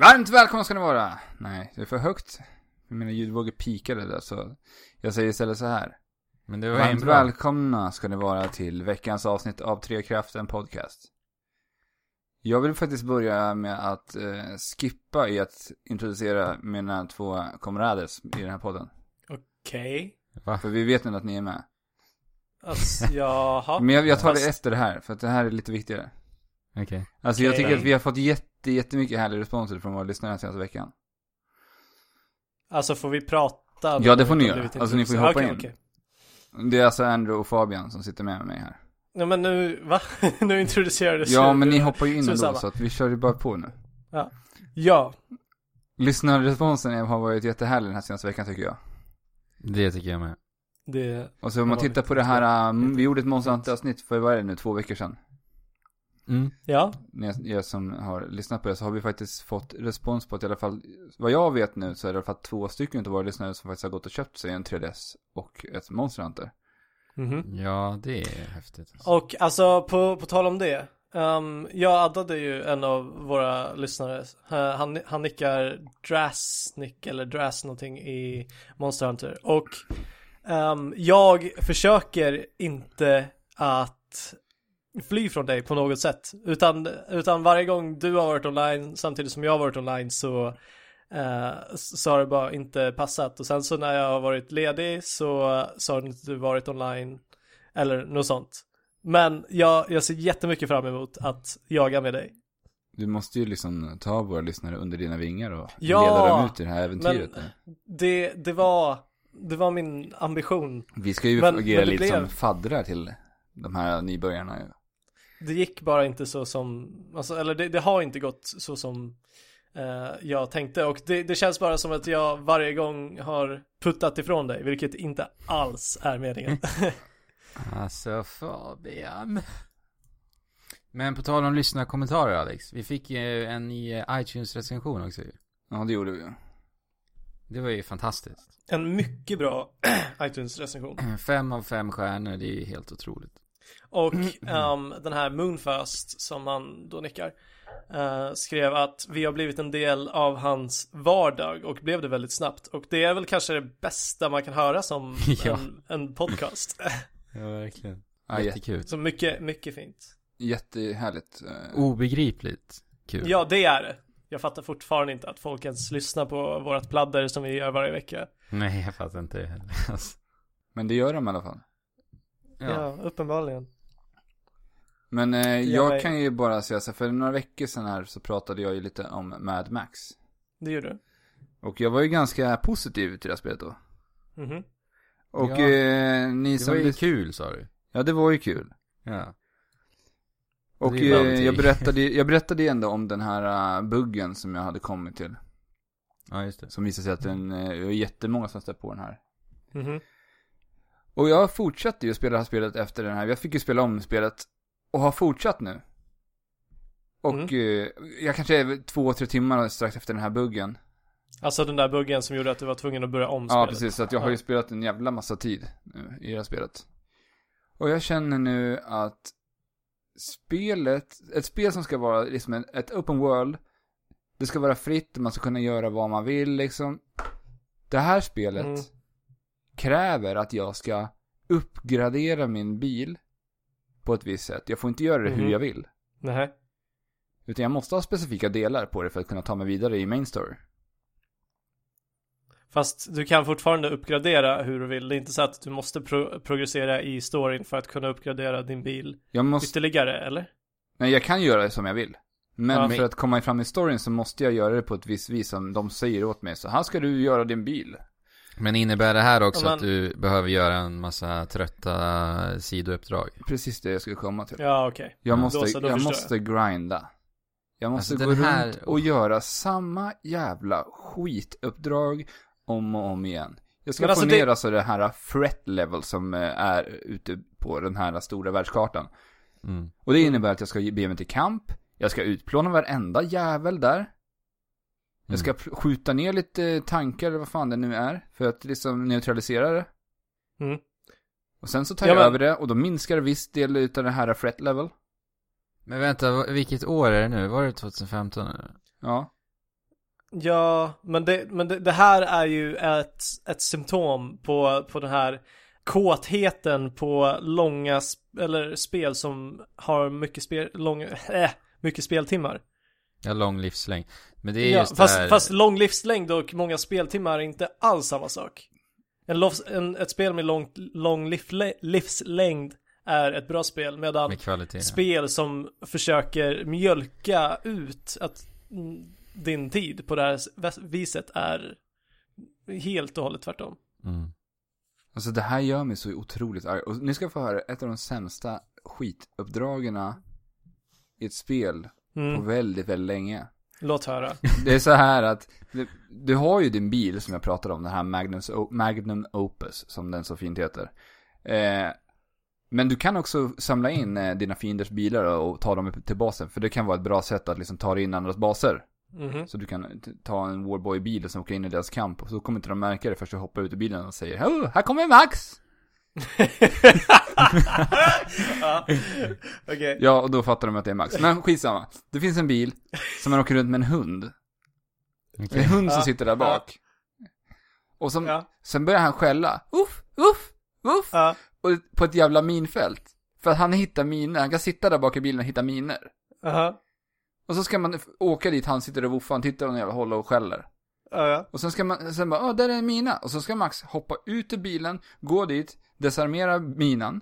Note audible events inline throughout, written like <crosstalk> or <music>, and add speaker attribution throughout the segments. Speaker 1: Varmt välkomna ska ni vara! Nej, det är för högt. Mina ljudvågor pikade där så jag säger istället så här.
Speaker 2: Men det var
Speaker 1: Varmt
Speaker 2: ju bra.
Speaker 1: välkomna ska ni vara till veckans avsnitt av Tre Kraften Podcast. Jag vill faktiskt börja med att eh, skippa i att introducera mina två kamrater i den här podden.
Speaker 3: Okej.
Speaker 2: Va?
Speaker 1: För vi vet nu att ni är med.
Speaker 3: Alltså,
Speaker 1: <laughs>
Speaker 3: jaha.
Speaker 1: Men jag, jag tar det
Speaker 3: Fast-
Speaker 1: efter det här, för att det här är lite viktigare.
Speaker 2: Okej.
Speaker 1: Alltså jag
Speaker 3: Okej.
Speaker 1: tycker att vi har fått jätte, jättemycket härlig respons från våra lyssnare den senaste veckan.
Speaker 3: Alltså får vi prata?
Speaker 1: Ja, det får ni
Speaker 3: Utan
Speaker 1: göra.
Speaker 3: blivit
Speaker 1: Alltså, ni får ju
Speaker 3: introducerade.
Speaker 1: hoppa
Speaker 3: Okej,
Speaker 1: in.
Speaker 3: okej.
Speaker 1: Det är alltså Andrew och Fabian som sitter med mig här.
Speaker 3: Nej men nu, <laughs> va? nu introducerades
Speaker 1: Ja,
Speaker 3: ju-
Speaker 1: men ni hoppar ju in ändå
Speaker 3: Susanna.
Speaker 1: så att vi kör ju bara på nu.
Speaker 3: Ja,
Speaker 1: Lyssnarresponsen har varit jättehärlig den här senaste veckan tycker jag.
Speaker 2: Det tycker jag med.
Speaker 3: det...
Speaker 1: Och så om man
Speaker 3: Det var
Speaker 1: tittar på det
Speaker 3: lite-
Speaker 1: här, um,
Speaker 3: lite-
Speaker 1: vi gjorde ett Måns avsnitt för, vad är det nu, två veckor sedan?
Speaker 2: Mm.
Speaker 3: Ja,
Speaker 1: Ni ni som har lyssnat på det så har vi faktiskt fått respons på att i alla fall, vad jag vet nu så är det i alla fall två stycken utav våra lyssnare som faktiskt har gått och köpt sig en 3DS och ett Monster Hunter.
Speaker 3: mhm.
Speaker 2: Ja, det är häftigt. Alltså.
Speaker 3: Och alltså på, på tal om det. ehm, jag addade ju en av våra lyssnare. Eh, han, han nickar Drasnick eller Dras någonting i Monster Hunter. Och ehm, jag försöker inte att fly från dig på något sätt. Utan, utan varje gång du har varit online samtidigt som jag har varit online så eh, s- så har det bara inte passat. Och sen så när jag har varit ledig så, så har inte du varit online eller något sånt. Men jag, jag ser jättemycket fram emot att jaga med dig.
Speaker 1: Du måste ju liksom ta våra lyssnare under dina vingar och
Speaker 3: Ja,
Speaker 1: leda dem ut i det här äventyret
Speaker 3: men-
Speaker 1: nu.
Speaker 3: Det, det, var, det var min ambition.
Speaker 1: Vi ska ju
Speaker 3: Men-
Speaker 1: agera
Speaker 3: men det
Speaker 1: lite
Speaker 3: blev-
Speaker 1: som faddrar till de här nybörjarna ju.
Speaker 3: Det gick bara inte så som, alltså, eller det, det har inte gått så som eh, jag tänkte. Och det, det känns bara som att jag varje gång har puttat ifrån dig, vilket inte alls är meningen.
Speaker 2: alltså, Fabian. Men på tal om lyssnarkommentarer, Alex. Vi fick ju en ny eh, iTunes-recension också ju.
Speaker 1: Ja, det gjorde vi ju.
Speaker 2: Det var ju fantastiskt. <clears throat>
Speaker 3: en mycket bra <clears throat> iTunes-recension.
Speaker 2: Fem av fem stjärnor, det är ju helt otroligt.
Speaker 3: Och ehm, den här Moonfast som han då nickar eh, skrev att vi har blivit en del av hans vardag och blev det väldigt snabbt. Och det är väl kanske det bästa man kan höra som
Speaker 2: Ja.
Speaker 3: en, en podcast.
Speaker 2: Ja, verkligen.
Speaker 1: Ja, jä-
Speaker 2: Jättekul.
Speaker 3: Så mycket, mycket fint.
Speaker 1: jättehärligt. eh,
Speaker 2: Oh. Obegripligt kul.
Speaker 3: Ja, det är det. Jag fattar fortfarande inte att folk ens lyssnar på vårat pladder som vi gör varje vecka.
Speaker 2: Nej, jag fattar inte det heller. Alltså.
Speaker 1: Men det gör de i alla fall.
Speaker 3: Ja, uppenbarligen.
Speaker 1: Men eh,
Speaker 3: är-
Speaker 1: jag kan ju bara säga så här, för några veckor sedan här så pratade jag ju lite om Mad Max.
Speaker 3: Det gör du.
Speaker 1: Och jag var ju ganska positiv till det här spelet då.
Speaker 3: Mhm.
Speaker 1: Och
Speaker 2: Ja.
Speaker 1: eh, ni
Speaker 2: Det
Speaker 1: som...
Speaker 2: var ju
Speaker 1: lys-
Speaker 2: kul, sa du.
Speaker 1: Ja, det var ju kul.
Speaker 2: Ja.
Speaker 1: Och
Speaker 2: Det är bra
Speaker 1: eh, jag,
Speaker 2: betyg.
Speaker 1: berättade, jag berättade ju ändå om den här eh, buggen som jag hade kommit till.
Speaker 2: Ja, just det.
Speaker 1: Som visade sig att den, eh, det var jättemånga som stötte på den här.
Speaker 3: Mhm.
Speaker 1: Och jag fortsatte ju spela det här spelet efter den här. Jag fick ju spela om spelet och har fortsatt nu. Och
Speaker 3: Mm.
Speaker 1: eh, jag kanske är två, tre timmar strax efter den här buggen.
Speaker 3: Alltså den där buggen som gjorde att du var tvungen att börja om
Speaker 1: Ja,
Speaker 3: spelet.
Speaker 1: precis. Så att jag har ju spelat en jävla massa tid nu i det här spelet. Och jag känner nu att spelet, ett spel som ska vara liksom en- ett open world, det ska vara fritt, man ska kunna göra vad man vill liksom. Det här spelet
Speaker 3: Mm.
Speaker 1: kräver att jag ska uppgradera min bil på ett visst sätt. Jag får inte göra det hur
Speaker 3: Mhm.
Speaker 1: jag vill.
Speaker 3: Nej.
Speaker 1: Utan jag måste ha specifika delar på det för att kunna ta mig vidare i main story.
Speaker 3: Fast du kan fortfarande uppgradera hur du vill. Det är inte så att du måste pro- progressera i storyn för att kunna uppgradera din bil
Speaker 1: Jag måste
Speaker 3: ytterligare, eller?
Speaker 1: Nej, jag kan göra det som jag vill. Men
Speaker 3: Ja.
Speaker 1: för att komma fram i storyn så måste jag göra det på ett visst vis som de säger åt mig. Så här ska du göra din bil.
Speaker 2: Men innebär det här också
Speaker 3: Ja, men-
Speaker 2: att du behöver göra en massa trötta sidouppdrag?
Speaker 1: Precis det jag skulle komma till.
Speaker 3: Ja, okej.
Speaker 1: Jag
Speaker 2: Ja.
Speaker 1: måste,
Speaker 3: Då så, då
Speaker 1: jag
Speaker 3: förstår
Speaker 1: måste grinda. Jag måste
Speaker 2: Alltså,
Speaker 1: gå
Speaker 2: den här-
Speaker 1: runt och göra samma jävla skituppdrag om och om igen. Jag ska
Speaker 3: Men alltså
Speaker 1: få
Speaker 3: det-
Speaker 1: ner alltså det här threat level som eh, är ute på den här stora världskartan.
Speaker 2: Mm.
Speaker 1: Och det innebär att jag ska ge mig till kamp. Jag ska utplåna varenda jävel där.
Speaker 2: Mm.
Speaker 1: Jag
Speaker 3: Mm.
Speaker 1: ska pl- skjuta ner lite tankar eller vad fan det nu är. För att liksom neutralisera det.
Speaker 3: Mm.
Speaker 1: Och sen så tar
Speaker 3: Ja,
Speaker 1: jag
Speaker 3: men-
Speaker 1: över det och då minskar viss del utav det här threat level.
Speaker 2: Men vänta, vad- vilket år är det nu? Var det 2015 eller?
Speaker 1: Ja.
Speaker 3: Ja, men det, men det, det här är ju ett, ett symptom på, på den här kåtheten på långa sp- eller spel som har mycket, spel, lång, <laughs> äh, mycket speltimmar.
Speaker 2: Ja, lång livslängd. Men det är
Speaker 3: Ja,
Speaker 2: just det här...
Speaker 3: fast, fast lång livslängd och många speltimmar är inte alls samma sak. En lovs, en, ett spel med lång, lång livslä, livslängd är ett bra spel medan
Speaker 2: Med kvalitet.
Speaker 3: spel som försöker mjölka ut att mm, din tid på det här s- viset är helt och hållet tvärtom.
Speaker 2: Mm.
Speaker 1: Alltså det här gör mig så otroligt arg. Och ni ska få höra ett av de sämsta skituppdragena i ett spel på
Speaker 3: Mm.
Speaker 1: väldigt, väldigt länge.
Speaker 3: Låt höra.
Speaker 1: Det är så här att du, du har ju din bil som jag pratade om, den här Magnus, O- Magnum Opus som den så fint heter. Eh, men du kan också samla in eh, dina fienders bilar och ta dem upp till basen. För det kan vara ett bra sätt att liksom ta dig in andras baser. <laughs>
Speaker 3: Mhm.
Speaker 1: Så du kan t- ta en Warboy-bil och sen åka in i deras kamp. Och så kommer inte de märka det förrän du hoppar ut ur bilen och säger oh, här kommer Max!
Speaker 3: ja. <laughs> Okej.
Speaker 1: Ja, och då fattar de att det är Max. Men skitsamma. Det finns en bil som man åker runt med en hund. Det är <laughs>
Speaker 2: Okej.
Speaker 1: en hund som
Speaker 3: Ja,
Speaker 1: sitter där bak. Och som,
Speaker 3: Ja.
Speaker 1: sen börjar han skälla. Uff, uff, uff.
Speaker 3: Ja.
Speaker 1: Och på ett jävla minfält. För att han hittar miner. Han kan sitta där bak i bilen och hitta miner.
Speaker 3: Aha.
Speaker 1: Och så ska man f- åka dit, han sitter och woffar, han tittar åt något jävla håll och skäller.
Speaker 3: Ja, ja.
Speaker 1: Och sen ska man, sen bara, åh, där är en mina. Och så ska Max hoppa ut ur bilen, gå dit, desarmera minan.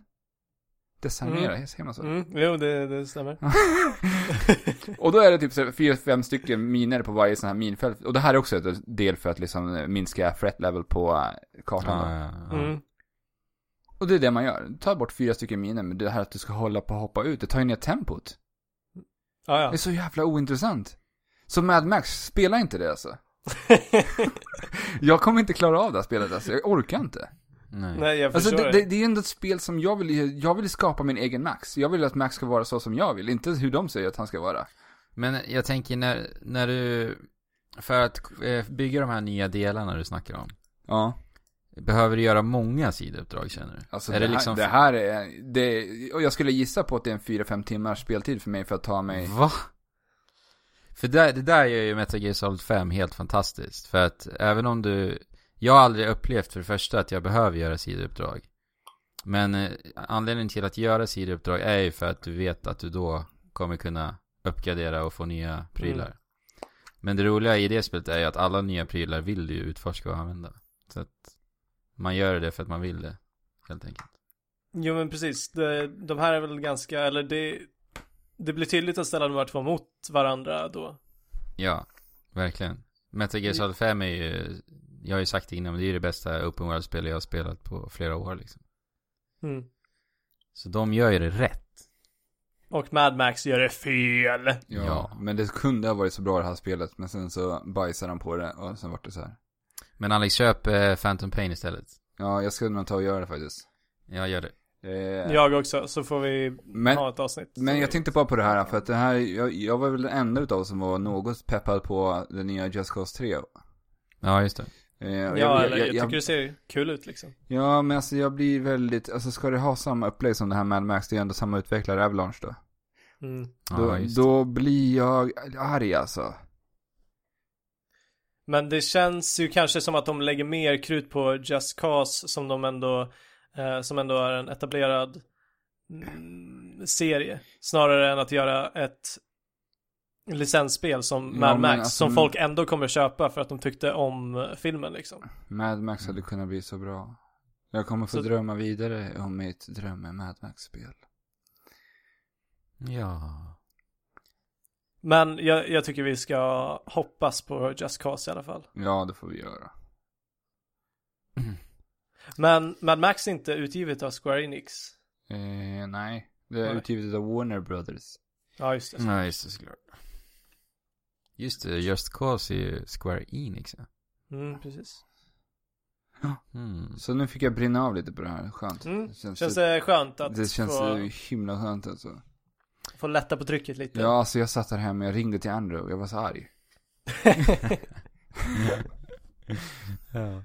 Speaker 1: Desarmera, säger man så?
Speaker 3: Mm. Jo, det, det stämmer. Mm.
Speaker 1: Och då är det typ så här fyra, fem stycken miner på varje sån här minfält. Och det här är också en del för att liksom eh, minska threat level på eh, kartan. då.
Speaker 2: Ja, ja, ja.
Speaker 3: Mm.
Speaker 1: Och det är det man gör. Du tar bort fyra stycken miner, men det här att du ska hålla på och hoppa ut, det tar ju ner tempot. <laughs>
Speaker 3: Ja,
Speaker 1: Det är
Speaker 3: ja.
Speaker 1: så jävla ointressant. Så Mad Max, spela inte det alltså. Jag kommer inte klara av det här spelet alltså, jag orkar inte.
Speaker 2: Nej.
Speaker 3: Nej, jag
Speaker 1: Alltså
Speaker 3: förstår
Speaker 1: det, det, det är ju ändå ett spel som jag vill, jag vill skapa min egen Max. Jag vill att Max ska vara så som jag vill, inte hur de säger att han ska vara.
Speaker 2: Men jag tänker när, när du, för att eh, bygga de här nya delarna du snackar om,
Speaker 1: Ja.
Speaker 2: behöver du göra många sidouppdrag känner du?
Speaker 1: Alltså
Speaker 2: är
Speaker 1: det,
Speaker 2: det,
Speaker 1: här,
Speaker 2: liksom,
Speaker 1: det här är, det, och jag skulle gissa på att det är en 4-5 timmars speltid för mig för att ta mig,
Speaker 2: Va? För det, det där gör ju Metal Gear Solid 5 helt fantastiskt. För att även om du, jag har aldrig upplevt för det första att jag behöver göra sidouppdrag. Men eh, anledningen till att göra sidouppdrag är ju för att du vet att du då kommer kunna uppgradera och få nya prylar. Men det roliga i det spelet är ju att alla nya prylar vill du ju utforska och använda. Så att man gör det för att man vill det, helt enkelt.
Speaker 3: Jo men precis, det, de här är väl ganska, eller det, det blir tydligt att ställa de här två mot varandra då.
Speaker 2: Ja, verkligen. Metal Gear Solid 5 är ju, jag har ju sagt det innan, men det är ju det bästa open world-spel jag har spelat på flera år liksom.
Speaker 3: Mm.
Speaker 2: Så de gör ju det rätt.
Speaker 3: Och Mad Max gör det fel.
Speaker 1: ja.
Speaker 2: Ja.
Speaker 1: Men det kunde ha varit så bra det här spelet, men sen så bajsade han på det och sen vart det så här.
Speaker 2: Men Alex, köp eh, Phantom Pain istället.
Speaker 1: Ja, jag skulle nog ta och göra det faktiskt.
Speaker 2: Jag gör det.
Speaker 1: Eh,
Speaker 3: Jag också, så får vi
Speaker 1: men,
Speaker 3: ha ett avsnitt.
Speaker 1: men jag tänkte bara på det här, för att det här, jag, jag var väl den enda utav oss som var något peppad på den nya Just Cause Eh, 3. Eh,
Speaker 2: Ja, just det.
Speaker 1: Ja,
Speaker 3: Ja, eller jag, tycker det ser kul ut liksom.
Speaker 1: Ja, men alltså jag blir väldigt, alltså ska det ha samma upplägg som det här Mad Max, det är ändå samma utvecklare, Avalanche då.
Speaker 3: Mm.
Speaker 2: Ja,
Speaker 1: Då,
Speaker 2: just det.
Speaker 1: då blir jag arg alltså.
Speaker 3: Men det känns ju kanske som att de lägger mer krut på Just Cause som de ändå, eh, som ändå är en etablerad mm, serie. Snarare än att göra ett licensspel som
Speaker 1: Ja, men
Speaker 3: Mad Max
Speaker 1: alltså-
Speaker 3: som folk ändå kommer köpa för att de tyckte om eh, filmen liksom.
Speaker 1: Mad Max hade
Speaker 2: Mm.
Speaker 1: kunnat bli så bra. Jag kommer få
Speaker 3: Så-
Speaker 1: drömma vidare om mitt dröm med Mad Max-spel.
Speaker 2: Ja.
Speaker 3: Men jag, jag tycker vi ska hoppas på Just Cause i alla fall.
Speaker 1: Ja, det får vi göra.
Speaker 3: Men Mad Max är inte utgivet av Square Enix.
Speaker 1: Eh, nej, det är
Speaker 3: Nej.
Speaker 1: utgivet av Warner Brothers.
Speaker 3: Ja, just det.
Speaker 1: Mm.
Speaker 2: Ja, just det såklart. Just det, Just Cause är ju Square Enix ja.
Speaker 3: Mm, precis.
Speaker 2: Mm.
Speaker 1: Så nu fick jag brinna av lite på det här, skönt.
Speaker 3: Mm, Känns
Speaker 1: känns
Speaker 3: det skönt
Speaker 1: det,
Speaker 3: att
Speaker 1: det känns
Speaker 3: få,
Speaker 1: eh, himla skönt alltså.
Speaker 3: få lätta på trycket lite? <laughs>
Speaker 1: Ja, alltså jag satt där hemma, jag ringde till Andrew och jag var så arg.
Speaker 2: <laughs> Ja.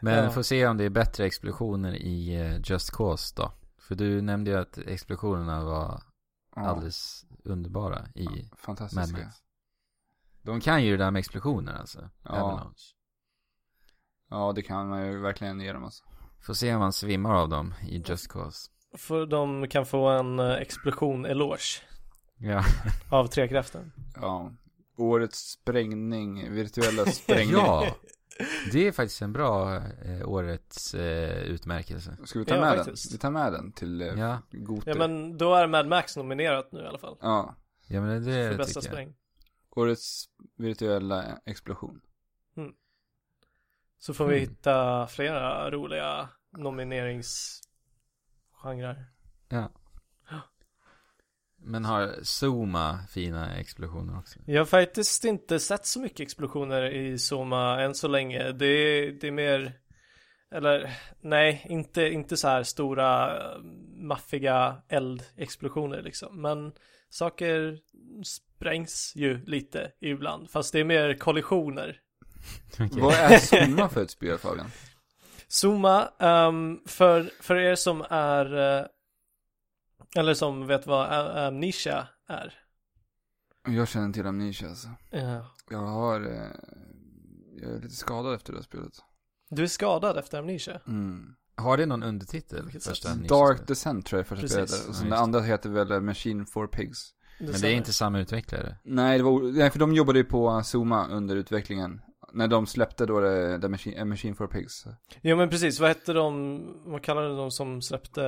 Speaker 2: Men
Speaker 3: Ja.
Speaker 2: får se om det är bättre explosioner i eh, Just Cause då. För du nämnde ju att explosionerna var
Speaker 1: Ja,
Speaker 2: alldeles underbara i
Speaker 1: Fantastiska.
Speaker 2: Mad Max. De kan ju det där med explosioner alltså.
Speaker 1: Ja.
Speaker 2: Avalanche.
Speaker 1: Ja, det kan man ju verkligen ge dem alltså.
Speaker 2: Får se om man svimmar av dem i Just Cause.
Speaker 3: För de kan få en eh, explosion-eloge
Speaker 2: Ja.
Speaker 3: av trekraften.
Speaker 1: Ja. Årets sprängning,
Speaker 3: <laughs>
Speaker 1: virtuella sprängning.
Speaker 2: <laughs> ja. Det är faktiskt en bra eh, årets eh, utmärkelse.
Speaker 1: Ska vi ta
Speaker 3: Ja,
Speaker 1: med
Speaker 3: faktiskt.
Speaker 1: den? Vi tar med den till eh,
Speaker 2: Ja,
Speaker 1: Goter.
Speaker 3: Ja men då är Mad Max nominerat nu i alla fall.
Speaker 1: ja.
Speaker 2: ja men det,
Speaker 3: För
Speaker 2: det
Speaker 3: bästa
Speaker 2: tycker jag.
Speaker 3: spräng.
Speaker 1: Årets virtuella explosion.
Speaker 3: Så får vi
Speaker 2: Mm.
Speaker 3: hitta flera roliga nomineringsgenrer.
Speaker 2: Men har Zuma fina explosioner också?
Speaker 3: Jag har faktiskt inte sett så mycket explosioner i Soma än så länge. Det är, det är mer, eller nej, inte, inte så här stora eh, maffiga eldexplosioner liksom. Men saker sprängs ju lite ibland, fast det är mer kollisioner.
Speaker 2: Okej.
Speaker 1: Vad
Speaker 2: <laughs>
Speaker 1: är Summa för ett spel Fabian?
Speaker 3: Zuma, ehm, för, för er som är, eh, eller som vet vad a- amnesia är.
Speaker 1: Jag känner till Amnesia alltså.
Speaker 3: Eh,
Speaker 1: Jag har... Eh, jag är lite skadad efter det här spelet.
Speaker 3: Du är skadad efter amnesia.
Speaker 1: Mm.
Speaker 2: Har det någon undertitel?
Speaker 3: Vilket
Speaker 2: Första
Speaker 3: sätt?
Speaker 2: Nixon-spelet?
Speaker 1: Dark Descent tror jag första
Speaker 3: Precis.
Speaker 1: spelet är. Och sen
Speaker 2: Ja,
Speaker 1: det
Speaker 2: just
Speaker 1: andra heter väl eh, Machine for Pigs.
Speaker 2: Men det är inte samma utvecklare?
Speaker 1: Nej, det var, o- nej, för de jobbade ju på Zuma under utvecklingen. När de släppte då det, det Machine, eh, Machine for Pigs.
Speaker 3: Ja men precis, vad hette de, vad kallade de som släppte,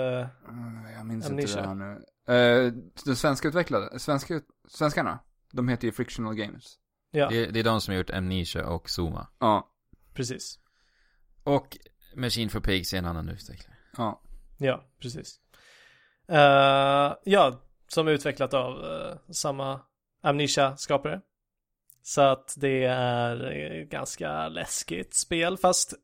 Speaker 1: Mm, Jag minns
Speaker 3: Amnesia.
Speaker 1: inte det här nu. Eh, de svenska utvecklade, svenska, ut- svenskarna, de heter ju Frictional Games.
Speaker 3: ja
Speaker 2: Det, är- det är de som har gjort Amnesia och Zuma.
Speaker 1: Ja,
Speaker 3: precis,
Speaker 2: Och Machine for Pigs är en annan utvecklare.
Speaker 1: ja.
Speaker 3: ja precis. Eh, ja, som är utvecklat av eh, samma Amnesia-skapare. Så att det är eh, ganska läskigt spel, fast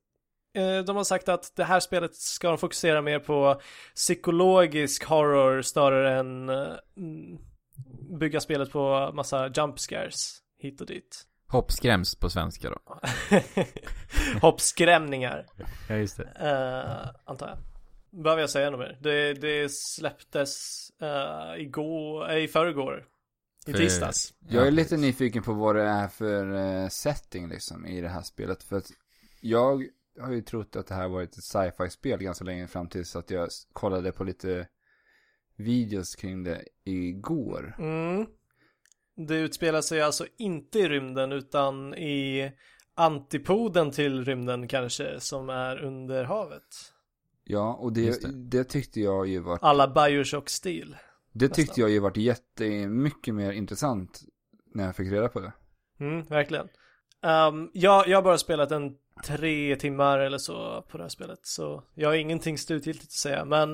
Speaker 3: eh, de har sagt att det här spelet ska de fokusera mer på psykologisk horror snarare än eh, mm, bygga spelet på massa jump scares hit och dit.
Speaker 2: Hoppskräms på svenska då.
Speaker 3: <laughs> Hoppskrämningar.
Speaker 2: Ja, just det.
Speaker 3: Eh, antar jag. Behöver jag säga något mer? Det, det släpptes eh, igår, eh, i förrgår. I
Speaker 2: För-
Speaker 3: tisdags.
Speaker 1: Jag är lite nyfiken på vad det är för eh, setting liksom i det här spelet. För att jag har ju trott att det här varit ett sci-fi spel ganska länge fram tills att jag s- kollade på lite videos kring det igår.
Speaker 3: Mm. Det utspelar sig alltså inte i rymden utan i antipoden till rymden kanske som är under havet.
Speaker 1: Ja, och
Speaker 2: Just
Speaker 1: det,
Speaker 2: det.
Speaker 1: det. tyckte jag ju var
Speaker 3: Alla Bioshock-stil.
Speaker 1: Det
Speaker 3: Nästan.
Speaker 1: tyckte jag ju varit jättemycket mer intressant när jag fick reda
Speaker 2: <laughs>
Speaker 1: på det.
Speaker 3: Mm, verkligen. Ehm, jag, jag har bara spelat en tre timmar eller så på det här spelet, så jag har ingenting slutgiltigt att säga. Men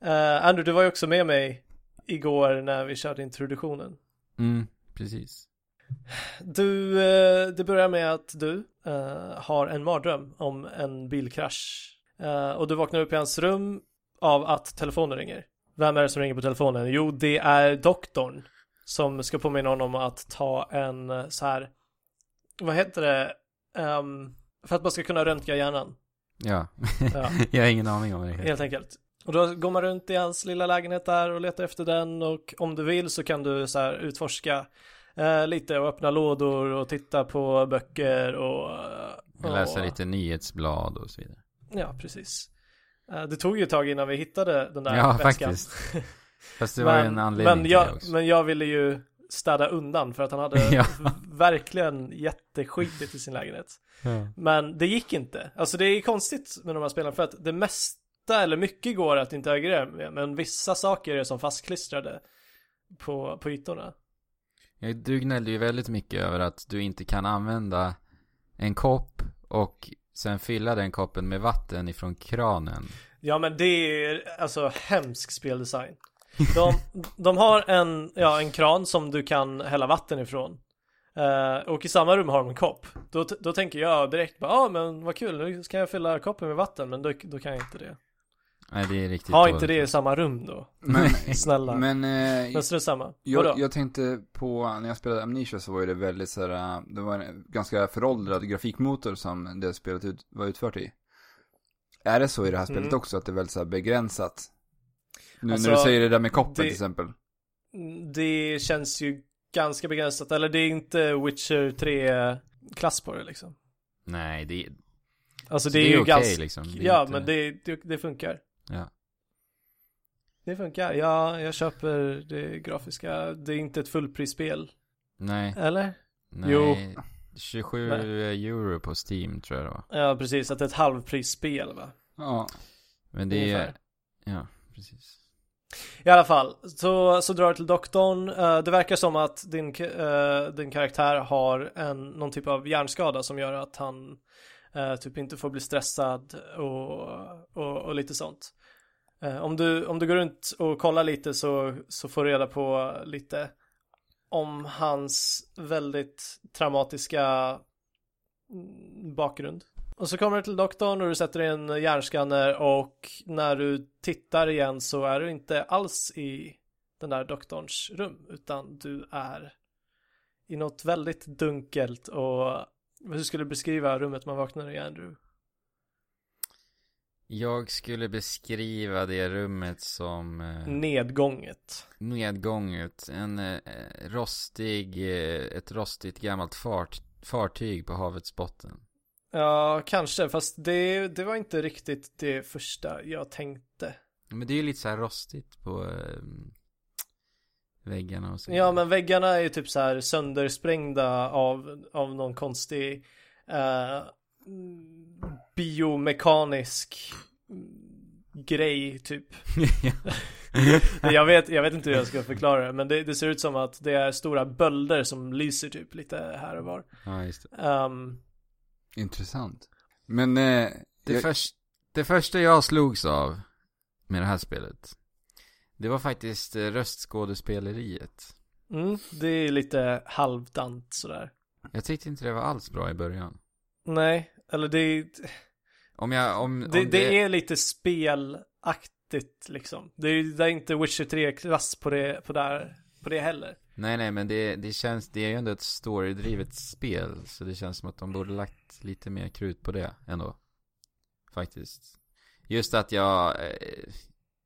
Speaker 3: eh, Andrew, du var ju också med mig igår när vi körde introduktionen.
Speaker 2: Mm, precis.
Speaker 3: Du, eh, det börjar med att du eh, har en mardröm om en bilkrasch. Eh, och du vaknar upp i hans rum av att telefonen ringer. Vem är det som ringer på telefonen? Jo, det är doktorn som ska påminna honom att ta en eh, så här, vad heter det, Ehm, för att man ska kunna röntga hjärnan.
Speaker 2: Ja.
Speaker 3: Ja.
Speaker 2: <laughs> jag har ingen aning om vad det heter.
Speaker 3: Helt enkelt. Och då går man runt i hans lilla lägenhet där och letar efter den och om du vill så kan du så här utforska eh, lite och öppna lådor och titta på böcker och...
Speaker 2: Jag läser
Speaker 3: och-
Speaker 2: lite nyhetsblad och så vidare.
Speaker 3: Ja, precis. Eh, det tog ju ett tag innan vi hittade den där
Speaker 2: Ja,
Speaker 3: väskan.
Speaker 2: faktiskt. Fast det var ju en anledning
Speaker 3: men
Speaker 2: till
Speaker 3: jag,
Speaker 2: det också.
Speaker 3: Men jag ville ju städa undan för att han hade
Speaker 2: <laughs> Ja.
Speaker 3: verkligen jätteskitigt i sin lägenhet.
Speaker 2: Ja.
Speaker 3: Men det gick inte. Alltså det är konstigt med de här spelen för att det mesta eller mycket går att interagera med men vissa saker är som fastklistrade på, på ytorna.
Speaker 2: Ja, Du gnällde ju väldigt mycket över att du inte kan använda en kopp och sen fylla den koppen med vatten ifrån kranen.
Speaker 3: Ja men det är alltså hemsk speldesign. De, <laughs> de har en, ja, en kran som du kan hälla vatten ifrån. Eh, och i samma rum har de en kopp. Då, t- då tänker jag direkt bara, ja ah, men vad kul, nu ska jag fylla koppen med vatten, men då, då kan jag inte det.
Speaker 2: Nej, det är riktigt
Speaker 3: Ha
Speaker 2: dåligt.
Speaker 3: inte det i samma rum då,
Speaker 1: Men,
Speaker 3: <laughs> snälla. Men,
Speaker 1: men eh,
Speaker 3: strunt samma. Vadå?
Speaker 1: jag, jag tänkte på, när jag spelade Amnesia så var ju det väldigt så här, det var en ganska föråldrad grafikmotor som det spelet ut, var utfört i. Är det så i det här spelet
Speaker 3: Mm.
Speaker 1: också, att det är väldigt så här begränsat? Nu
Speaker 3: Alltså,
Speaker 1: när du säger det där med koppen
Speaker 3: det-
Speaker 1: till exempel.
Speaker 3: Mm, Det känns ju ganska begränsat. Eller det är inte Witcher 3-klass på det liksom.
Speaker 2: Nej, det, är-
Speaker 3: Alltså
Speaker 2: Så
Speaker 3: det, är,
Speaker 2: det är
Speaker 3: ju
Speaker 2: okej,
Speaker 3: ganska...
Speaker 2: liksom. Det är
Speaker 3: ja,
Speaker 2: inte-
Speaker 3: men det, det, det funkar.
Speaker 2: Ja.
Speaker 3: Det funkar. Ja, jag köper det grafiska. Det är inte ett fullprisspel.
Speaker 2: nej, <laughs>
Speaker 3: Eller?
Speaker 2: nej.
Speaker 3: Jo.
Speaker 2: 27 euro på Steam tror jag det var.
Speaker 3: Ja, precis. Att det är ett halvprisspel va?
Speaker 1: Ja.
Speaker 2: Men det är,
Speaker 3: Ungefär.
Speaker 2: ja, precis.
Speaker 3: I alla fall, så, så drar du till doktorn. Eh, det verkar som att din, eh, din karaktär har en, någon typ av hjärnskada som gör att han eh, typ inte får bli stressad och, och, och lite sånt. Eh, om, du, om du går runt och kollar lite så, så får du reda på lite om hans väldigt traumatiska mm, bakgrund. Och så kommer du till doktorn och du sätter in hjärnskanner och när du tittar igen så är du inte alls i den där doktorns rum utan du är i något väldigt dunkelt och hur skulle du beskriva rummet man vaknar i Andrew?
Speaker 2: Jag skulle beskriva det rummet som eh,
Speaker 3: Mm. Nedgånget.
Speaker 2: nedgånget. En eh, rostig, eh, ett rostigt gammalt fart, fartyg på havets botten.
Speaker 3: Ja, kanske, fast det, det var inte riktigt det första jag tänkte.
Speaker 2: Men det är ju lite så här rostigt på eh, väggarna och så.
Speaker 3: Ja, men väggarna är ju typ så här söndersprängda av, av någon konstig eh, biomekanisk grej typ.
Speaker 2: <laughs>
Speaker 3: Jag vet, jag vet inte hur jag ska förklara det, men det, det ser ut som att det är stora bölder som lyser typ lite här och var.
Speaker 2: ja, just det.
Speaker 3: Ehm,
Speaker 1: Intressant. Men, eh,
Speaker 2: Det,
Speaker 1: jag,
Speaker 2: förs- det första jag slogs av med det här spelet. Det var faktiskt eh, röstskådespeleriet.
Speaker 3: mm, det är lite halvdant sådär.
Speaker 2: Jag tyckte inte det var alls bra i början.
Speaker 3: Nej, eller det,
Speaker 2: Om jag, om, om
Speaker 3: det, det är lite spelaktigt liksom. Det är, det är inte Witcher 3-klass på det, på, där, på det heller.
Speaker 2: Nej, nej, men det, det känns, det är ju ändå ett storydrivet spel, så det känns som att de borde lagt lite mer krut på det ändå. Faktiskt. Just att jag, eh,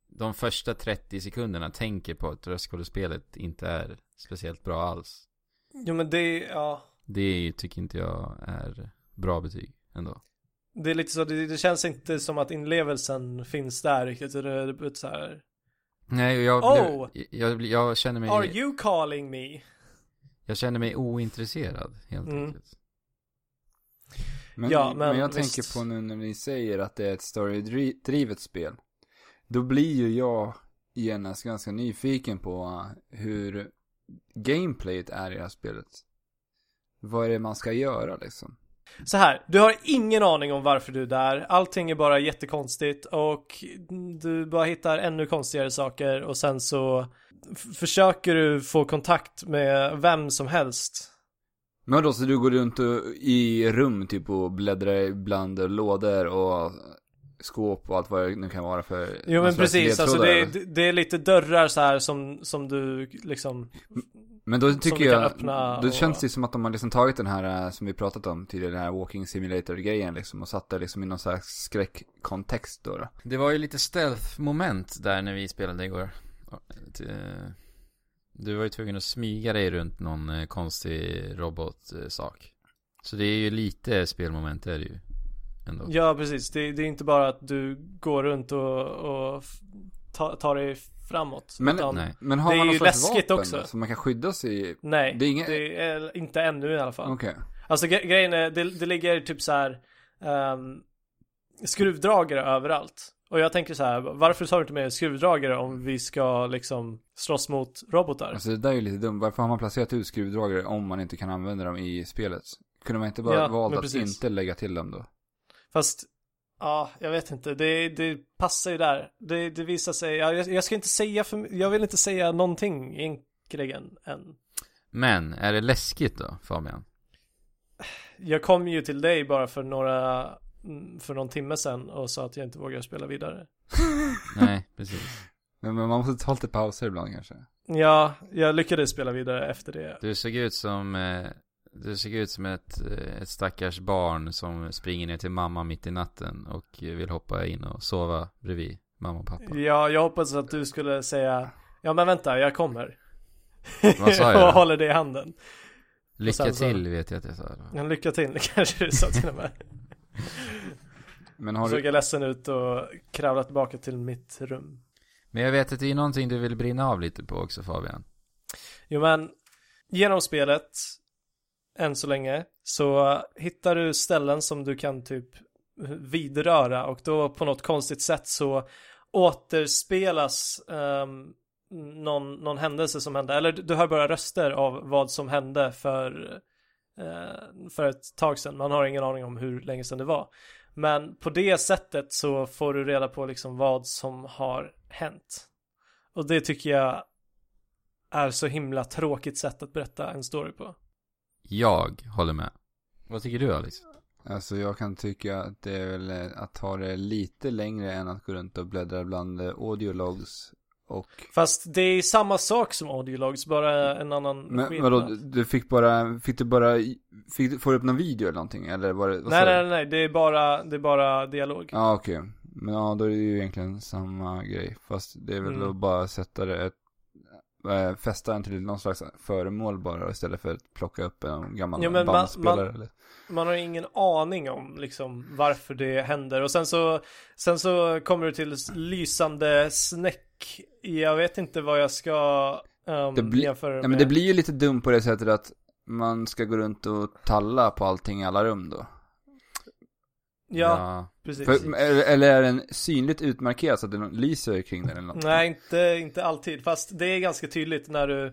Speaker 2: de första 30 sekunderna tänker på att röstskådespelet inte är speciellt bra alls.
Speaker 3: Jo men det, ja.
Speaker 2: Det tycker inte jag är bra betyg ändå.
Speaker 3: Det är lite så, det, det känns inte som att inlevelsen finns där riktigt. Det är lite så här,
Speaker 2: Nej, och jag,
Speaker 3: Oh!
Speaker 2: jag, jag, jag känner
Speaker 3: Are
Speaker 2: mig,
Speaker 3: you calling me?
Speaker 2: jag känner mig ointresserad helt
Speaker 3: Mm.
Speaker 2: enkelt.
Speaker 1: men,
Speaker 3: ja,
Speaker 1: men
Speaker 3: men
Speaker 1: jag
Speaker 3: visst.
Speaker 1: tänker på nu när ni säger att det är ett storydrivet spel. Då blir ju jag genast ganska nyfiken på eh, hur gameplayet är i det här spelet. Vad är det man ska göra liksom?
Speaker 3: Så här, du har ingen aning om varför du är där. Allting är bara jättekonstigt och du bara hittar ännu konstigare saker och sen så f- försöker du få kontakt med vem som helst.
Speaker 1: Men då så du går runt och, i rum typ och bläddrar bland lådor och skåp och allt vad det nu kan vara för
Speaker 3: Jo
Speaker 1: någon
Speaker 3: men
Speaker 1: slags
Speaker 3: precis, alltså
Speaker 1: ledtrådar,
Speaker 3: det är,
Speaker 1: eller?
Speaker 3: det är lite dörrar så här som, som du liksom
Speaker 1: Men då
Speaker 3: som
Speaker 1: tycker
Speaker 3: du kan
Speaker 1: jag,
Speaker 3: öppna
Speaker 1: då
Speaker 3: och-
Speaker 1: känns det som att de har liksom tagit den här eh, som vi pratat om tidigare, den här walking simulator-grejen liksom och satt det liksom i någon slags skräckkontext då. då.
Speaker 2: Det var ju lite stealth-moment där när vi spelade igår. Eh, Du var ju tvungen att smyga dig runt någon eh, konstig robotsak. Så det är ju lite spelmoment är det ju. Ändå.
Speaker 3: Ja, precis. Det, det är inte bara att du går runt och, och f- ta, tar dig framåt.
Speaker 1: Men-
Speaker 3: utan,
Speaker 2: Nej.
Speaker 1: Men har
Speaker 3: Det är
Speaker 1: man någon
Speaker 3: ju
Speaker 1: slags
Speaker 3: läskigt
Speaker 1: vapen
Speaker 3: också.
Speaker 1: då, som man kan skydda sig i?
Speaker 3: nej
Speaker 1: Det
Speaker 3: det,
Speaker 1: är
Speaker 3: är
Speaker 1: ingen-
Speaker 3: inte ännu i alla fall.
Speaker 1: Okej.
Speaker 3: Alltså gre- grejen är, det, det ligger typ så här ehm, skruvdragare överallt. Och jag tänker så här, varför tar du inte med skruvdragare om vi ska liksom slåss mot robotar?
Speaker 1: Alltså det där är ju lite dumt. Varför har man placerat ut skruvdragare om man inte kan använda dem i spelet? Kunde man inte bara
Speaker 3: Ja,
Speaker 1: valt
Speaker 3: men
Speaker 1: att
Speaker 3: precis.
Speaker 1: inte lägga till dem då?
Speaker 3: Fast, ja, jag vet inte. Det, det passar ju där. Det, det visar sig, ja, jag, jag ska inte säga för jag vill inte säga någonting egentligen än.
Speaker 2: Men, är det läskigt då, Fabian?
Speaker 3: Jag kom ju till dig bara för några mm, för någon timme sedan och sa att jag inte vågar spela vidare.
Speaker 2: Nej, <laughs> precis.
Speaker 1: Men men man måste ta lite pauser ibland kanske.
Speaker 3: Ja, jag lyckades spela vidare efter det.
Speaker 2: Du såg ut som, eh, du såg ut som ett, eh, ett stackars barn som springer ner till mamma mitt i natten och eh, vill hoppa in och sova bredvid mamma och pappa.
Speaker 3: Ja, jag hoppades att du skulle säga Ja men vänta, jag kommer.
Speaker 2: Vad sa
Speaker 3: <laughs> och
Speaker 2: jag? då?
Speaker 3: håller det i handen.
Speaker 2: Lycka
Speaker 3: sen så-
Speaker 2: till vet jag att jag sa. då.
Speaker 3: Men lycka till, <laughs> kanske du sa till och med.
Speaker 1: Men har
Speaker 3: Såg
Speaker 1: du...
Speaker 3: jag ledsen ut och kravlade tillbaka till mitt rum.
Speaker 2: Men jag vet att det är någonting du vill brinna av lite på också Fabian.
Speaker 3: Jo men, genom spelet, än så länge, så hittar du ställen som du kan typ vidröra och då på något konstigt sätt så återspelas ehm, någon, någon händelse som hände. Eller du, du hör bara röster av vad som hände för, eh, för ett tag sedan. Man har ingen aning om hur länge sedan det var. Men på det sättet så får du reda på liksom vad som har hänt. Och det tycker jag är så himla tråkigt sätt att berätta en story på.
Speaker 2: Jag håller med. Vad tycker du Alex?
Speaker 1: Alltså jag kan tycka att det är väl eh, att ta det lite längre än att gå runt och bläddra bland eh, audiologs och...
Speaker 3: Fast det är samma sak som audiologs, bara en annan
Speaker 1: Men
Speaker 3: skillnad.
Speaker 1: vadå, du fick bara, fick du bara, fick du, får du upp någon video eller någonting? Eller var det, vad sa du?
Speaker 3: Nej, nej, nej, det är bara, det är bara dialog.
Speaker 1: Ja, okej. Men ja, då är det ju egentligen samma grej. Fast det är väl
Speaker 3: Mm.
Speaker 1: att bara sätta det ett, äh, fästa en till någon slags föremål bara istället för att plocka upp en gammal
Speaker 3: Ja, men man-
Speaker 1: bandspelare
Speaker 3: man-
Speaker 1: eller?
Speaker 3: Man har ingen aning om liksom varför det händer. Och sen så, sen så kommer du till lysande snäck. Jag vet inte vad jag ska um,
Speaker 1: Det blir-
Speaker 3: jämföra
Speaker 1: Nej,
Speaker 3: med.
Speaker 1: men det blir ju lite dumt på det sättet att man ska gå runt och talla på allting i alla rum då.
Speaker 3: Ja,
Speaker 2: ja.
Speaker 3: precis.
Speaker 1: För, eller, eller är den synligt utmarkerad så att den lyser kring den eller något?
Speaker 3: Nej, inte, inte alltid. Fast det är ganska tydligt när du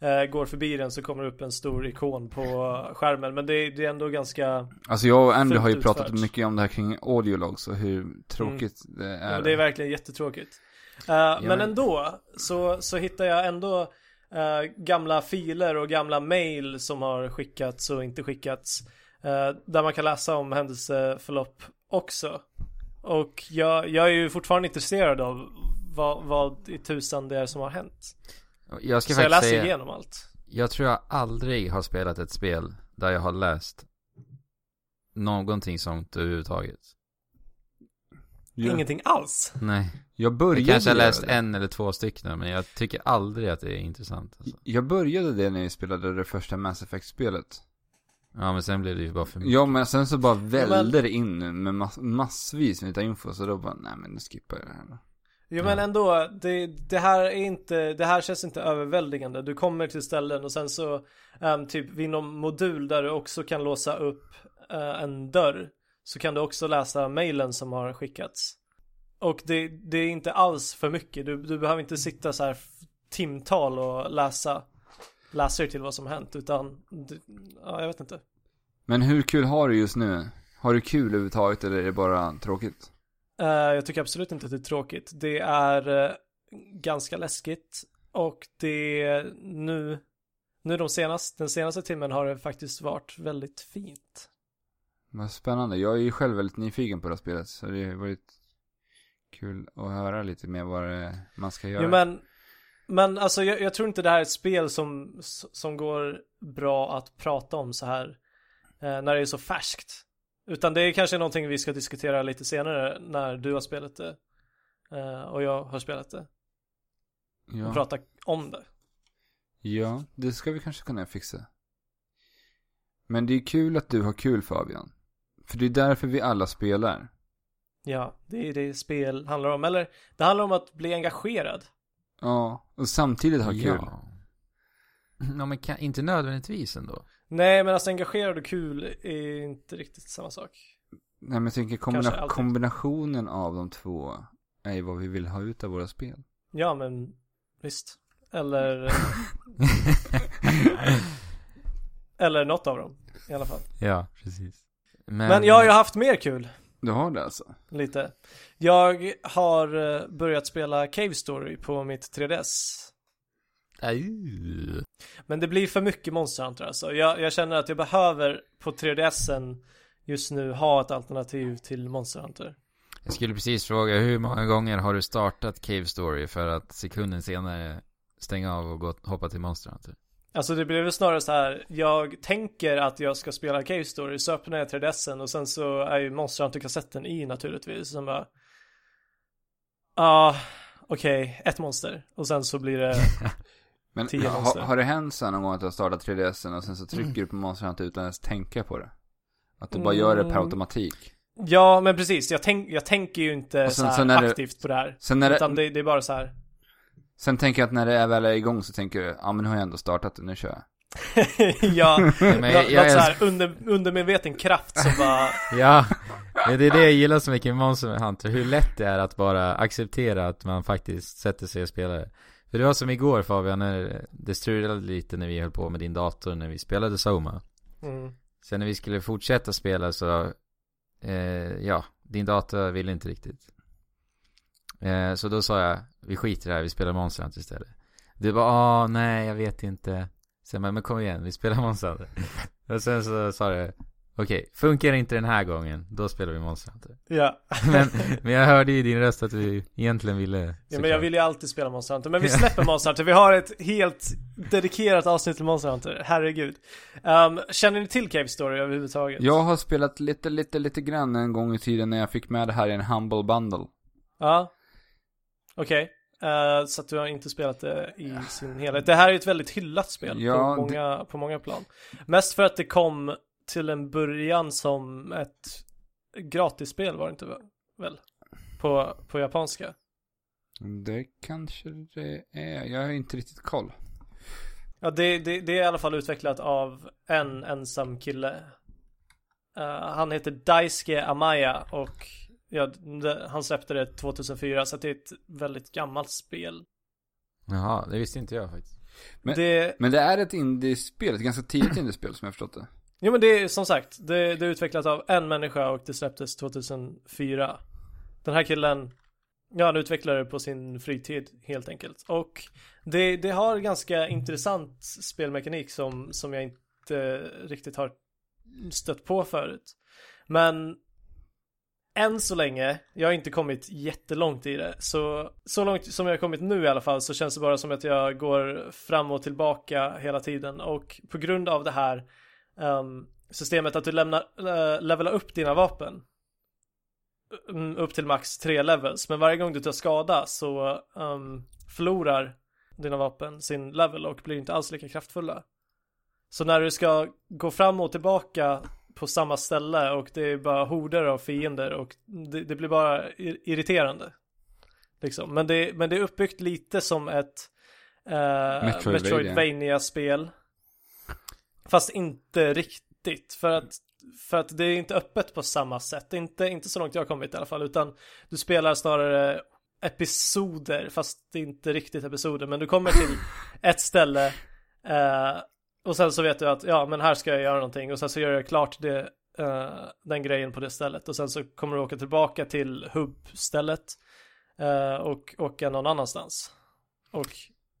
Speaker 3: eh, går förbi den så kommer det upp en stor ikon på skärmen. Men det, är- det är ändå ganska...
Speaker 1: Alltså jag och Andy
Speaker 3: Fullt
Speaker 1: har ju pratat
Speaker 3: utfört.
Speaker 1: mycket om det här kring audiologs och hur tråkigt det är.
Speaker 3: Mm. Ja, det är verkligen jättetråkigt. Eh, men
Speaker 2: men-
Speaker 3: ändå så, så hittar jag ändå eh, gamla filer och gamla mail som har skickats och inte skickats. eh, där man kan läsa om händelseförlopp också. Och jag, jag är ju fortfarande intresserad av vad, vad i tusan det är som har hänt.
Speaker 2: Jag ska
Speaker 3: Så jag
Speaker 2: faktiskt
Speaker 3: läser
Speaker 2: säga,
Speaker 3: igenom allt.
Speaker 2: jag tror jag aldrig har spelat ett spel där jag har läst någonting sånt överhuvudtaget.
Speaker 1: Ja.
Speaker 3: Ingenting alls.
Speaker 2: Nej.
Speaker 1: Jag började
Speaker 2: Jag kanske har
Speaker 1: göra
Speaker 2: läst
Speaker 1: det.
Speaker 2: en eller två stycken, men jag tycker aldrig att det är intressant. Alltså.
Speaker 1: Jag började det när jag spelade det första Mass Effect-spelet.
Speaker 2: Ja, men sen blev det ju bara för mycket.
Speaker 1: Ja, men sen så bara vällde det in med mass- massvis med info, så då bara, nej men nu skippar jag det här. då.
Speaker 3: Jo men ändå, det, det här är inte, det här känns inte överväldigande. Du kommer till ställen och sen så ehm, typ vid någon modul där du också kan låsa upp eh, en dörr så kan du också läsa mailen som har skickats. Och det, det är inte alls för mycket, du, du behöver inte sitta så här f- timtal och läsa läser till vad som har hänt utan, du, ja jag vet inte.
Speaker 1: Men hur kul har du just nu? Har du kul överhuvudtaget eller är det bara tråkigt?
Speaker 3: Eh, jag tycker absolut inte att det är tråkigt. Det är eh, ganska läskigt och det är nu, nu de senaste, den senaste timmen har det faktiskt varit väldigt fint.
Speaker 1: Vad spännande. Jag är ju själv väldigt nyfiken på det här spelet, så det har varit kul att höra lite mer vad det- man ska göra.
Speaker 3: Jo, men, men alltså jag, jag tror inte det här är ett spel som, som går bra att prata om så här eh, när det är så färskt. Utan det är kanske någonting vi ska diskutera lite senare när du har spelat det eh, och jag har spelat det och
Speaker 1: ja.
Speaker 3: prata om det.
Speaker 1: ja, det ska vi kanske kunna fixa. Men det är kul att du har kul Fabian. För det är därför vi alla spelar.
Speaker 3: Ja, det är det spel handlar om. Eller det handlar om att bli engagerad.
Speaker 1: Ja, och samtidigt ha kul.
Speaker 2: Ja. <clears throat> Ja, men kan, inte nödvändigtvis ändå. <laughs>
Speaker 3: Nej, men alltså engagerad och kul är inte riktigt samma sak.
Speaker 1: Nej men jag tänker
Speaker 3: Kanske
Speaker 1: kombina-
Speaker 3: alltid.
Speaker 1: kombinationen av de två är ju vad vi vill ha ut av våra spel.
Speaker 3: Ja, men visst. Eller, eller något av dem i alla fall.
Speaker 2: ja, precis. Men,
Speaker 3: Men jag har ju haft mer kul,
Speaker 1: Du har det alltså?
Speaker 3: lite. Jag har eh, börjat spela Cave Story på mitt 3DS.
Speaker 2: Aj.
Speaker 3: Men det blir för mycket Monster Hunter alltså. Jag, jag känner att jag behöver på 3DSen just nu ha ett alternativ till Monster Hunter.
Speaker 2: Jag skulle precis fråga, hur många gånger har du startat Cave Story för att sekunden senare stänga av och gå, hoppa till typ? Monster
Speaker 3: <laughs>
Speaker 2: Hunter?
Speaker 3: Alltså det blev väl snarare så här, jag tänker att jag ska spela Cave Story, så öppnar jag 3DSen och sen så är ju Monster Hunter-kassetten i naturligtvis. Sen bara, "Ah,
Speaker 1: <laughs>
Speaker 3: ja, okej, ett monster. Och sen så blir det
Speaker 1: Men
Speaker 3: Tio
Speaker 1: har,
Speaker 3: monster.
Speaker 1: har det hänt så här någon gång att du har startat 3DSen och sen så trycker du på Monster Hunter utan ens tänka på det? Att du bara gör det per
Speaker 3: Mm.
Speaker 1: automatik?
Speaker 3: Ja, men precis. Jag, tänk, jag tänker ju inte
Speaker 1: Och sen-
Speaker 3: så här
Speaker 1: sen är det-
Speaker 3: aktivt på det här.
Speaker 1: Sen, när
Speaker 3: utan
Speaker 1: det,
Speaker 3: det, det är bara så här. <laughs>
Speaker 1: sen tänker jag att när det är väl är igång så tänker du, ja ah, men nu har jag ändå startat det, nu kör jag.
Speaker 3: ja,
Speaker 2: Nej,
Speaker 3: men
Speaker 2: men jag, jag
Speaker 3: något så
Speaker 2: älskar,
Speaker 3: här under, undermedveten kraft som bara...
Speaker 2: <laughs> ja, Men det är det jag gillar så mycket med Monster Hunter, hur lätt det är att bara acceptera att man faktiskt sätter sig och spelar det. För det var som igår Fabian, när det strulade lite när vi höll på med din dator när vi spelade Soma.
Speaker 3: Mm.
Speaker 2: Sen när vi skulle fortsätta spela så, eh, ja, din dator ville inte riktigt. Eh, så då sa jag, vi skiter i det här, vi spelar Monster Hunter istället. Du bara, ah nej, jag vet inte. Sen bara, men kom igen, vi spelar Monster Hunter. <laughs> Och sen så sa du, okej, funkar inte den här gången, då spelar vi Monster Hunter.
Speaker 3: Ja.
Speaker 2: <laughs> men, men jag hörde ju i din röst att du egentligen ville.
Speaker 3: ja, men jag
Speaker 2: såklart.
Speaker 3: vill ju alltid spela Monster Hunter. Men vi släpper Monster Hunter. Vi har ett helt dedikerat avsnitt till Monster Hunter. Herregud. Ehm, känner ni till Cave Story överhuvudtaget?
Speaker 1: Jag har spelat lite, lite, lite grann en gång i tiden när jag fick med det här i en humble bundle.
Speaker 3: Ja. Okej. Eh, så att du har inte spelat det i sin helhet. Det här är ett väldigt hyllat spel
Speaker 1: Ja,
Speaker 3: på, många, på många plan. Mest för att det kom till en början som ett gratisspel var det inte va- väl? På, på japanska.
Speaker 1: Det kanske det är, jag har inte riktigt koll.
Speaker 3: Ja, det, det, det är i alla fall utvecklat av en ensam kille. Eh, han heter Daisuke Amaya och ja, det, han släppte det 2004 så att det är ett väldigt gammalt spel.
Speaker 2: Jaha, det visste inte jag faktiskt.
Speaker 1: Men-
Speaker 3: det,
Speaker 1: Men det är ett indiespel, ett ganska tidigt indiespel som jag förstått det.
Speaker 3: Jo men det är som sagt, det, det är utvecklat av en människa och det släpptes 2004. Den här killen, ja han utvecklade det på sin fritid helt enkelt. Och det, det har ganska intressant spelmekanik som, som jag inte riktigt har stött på förut. Men än så länge, jag har inte kommit jättelångt i det, så, så långt som jag har kommit nu i alla fall så känns det bara som att jag går fram och tillbaka hela tiden och på grund av det här ehm, systemet att du lämnar, eh, levelar upp dina vapen mm, upp till max tre levels men varje gång du tar skada så ehm, förlorar dina vapen sin level och blir inte alls lika kraftfulla. Så när du ska gå fram och tillbaka på samma ställe och det är bara horder av fiender och det, det blir bara ir- irriterande. Liksom. Men, det, men det är uppbyggt lite som ett eh,
Speaker 1: Metroidvania.
Speaker 3: metroidvania spel Fast inte riktigt för att, för att det är inte öppet på samma sätt. Inte, inte så långt jag har kommit i alla fall utan du spelar snarare episoder fast det är inte riktigt episoder men du kommer till ett ställe eh, och sen så vet du att ja men här ska jag göra någonting och sen så gör jag klart det, eh, den grejen på det stället och sen så kommer du åka tillbaka till hubbstället eh, och åka någon annanstans och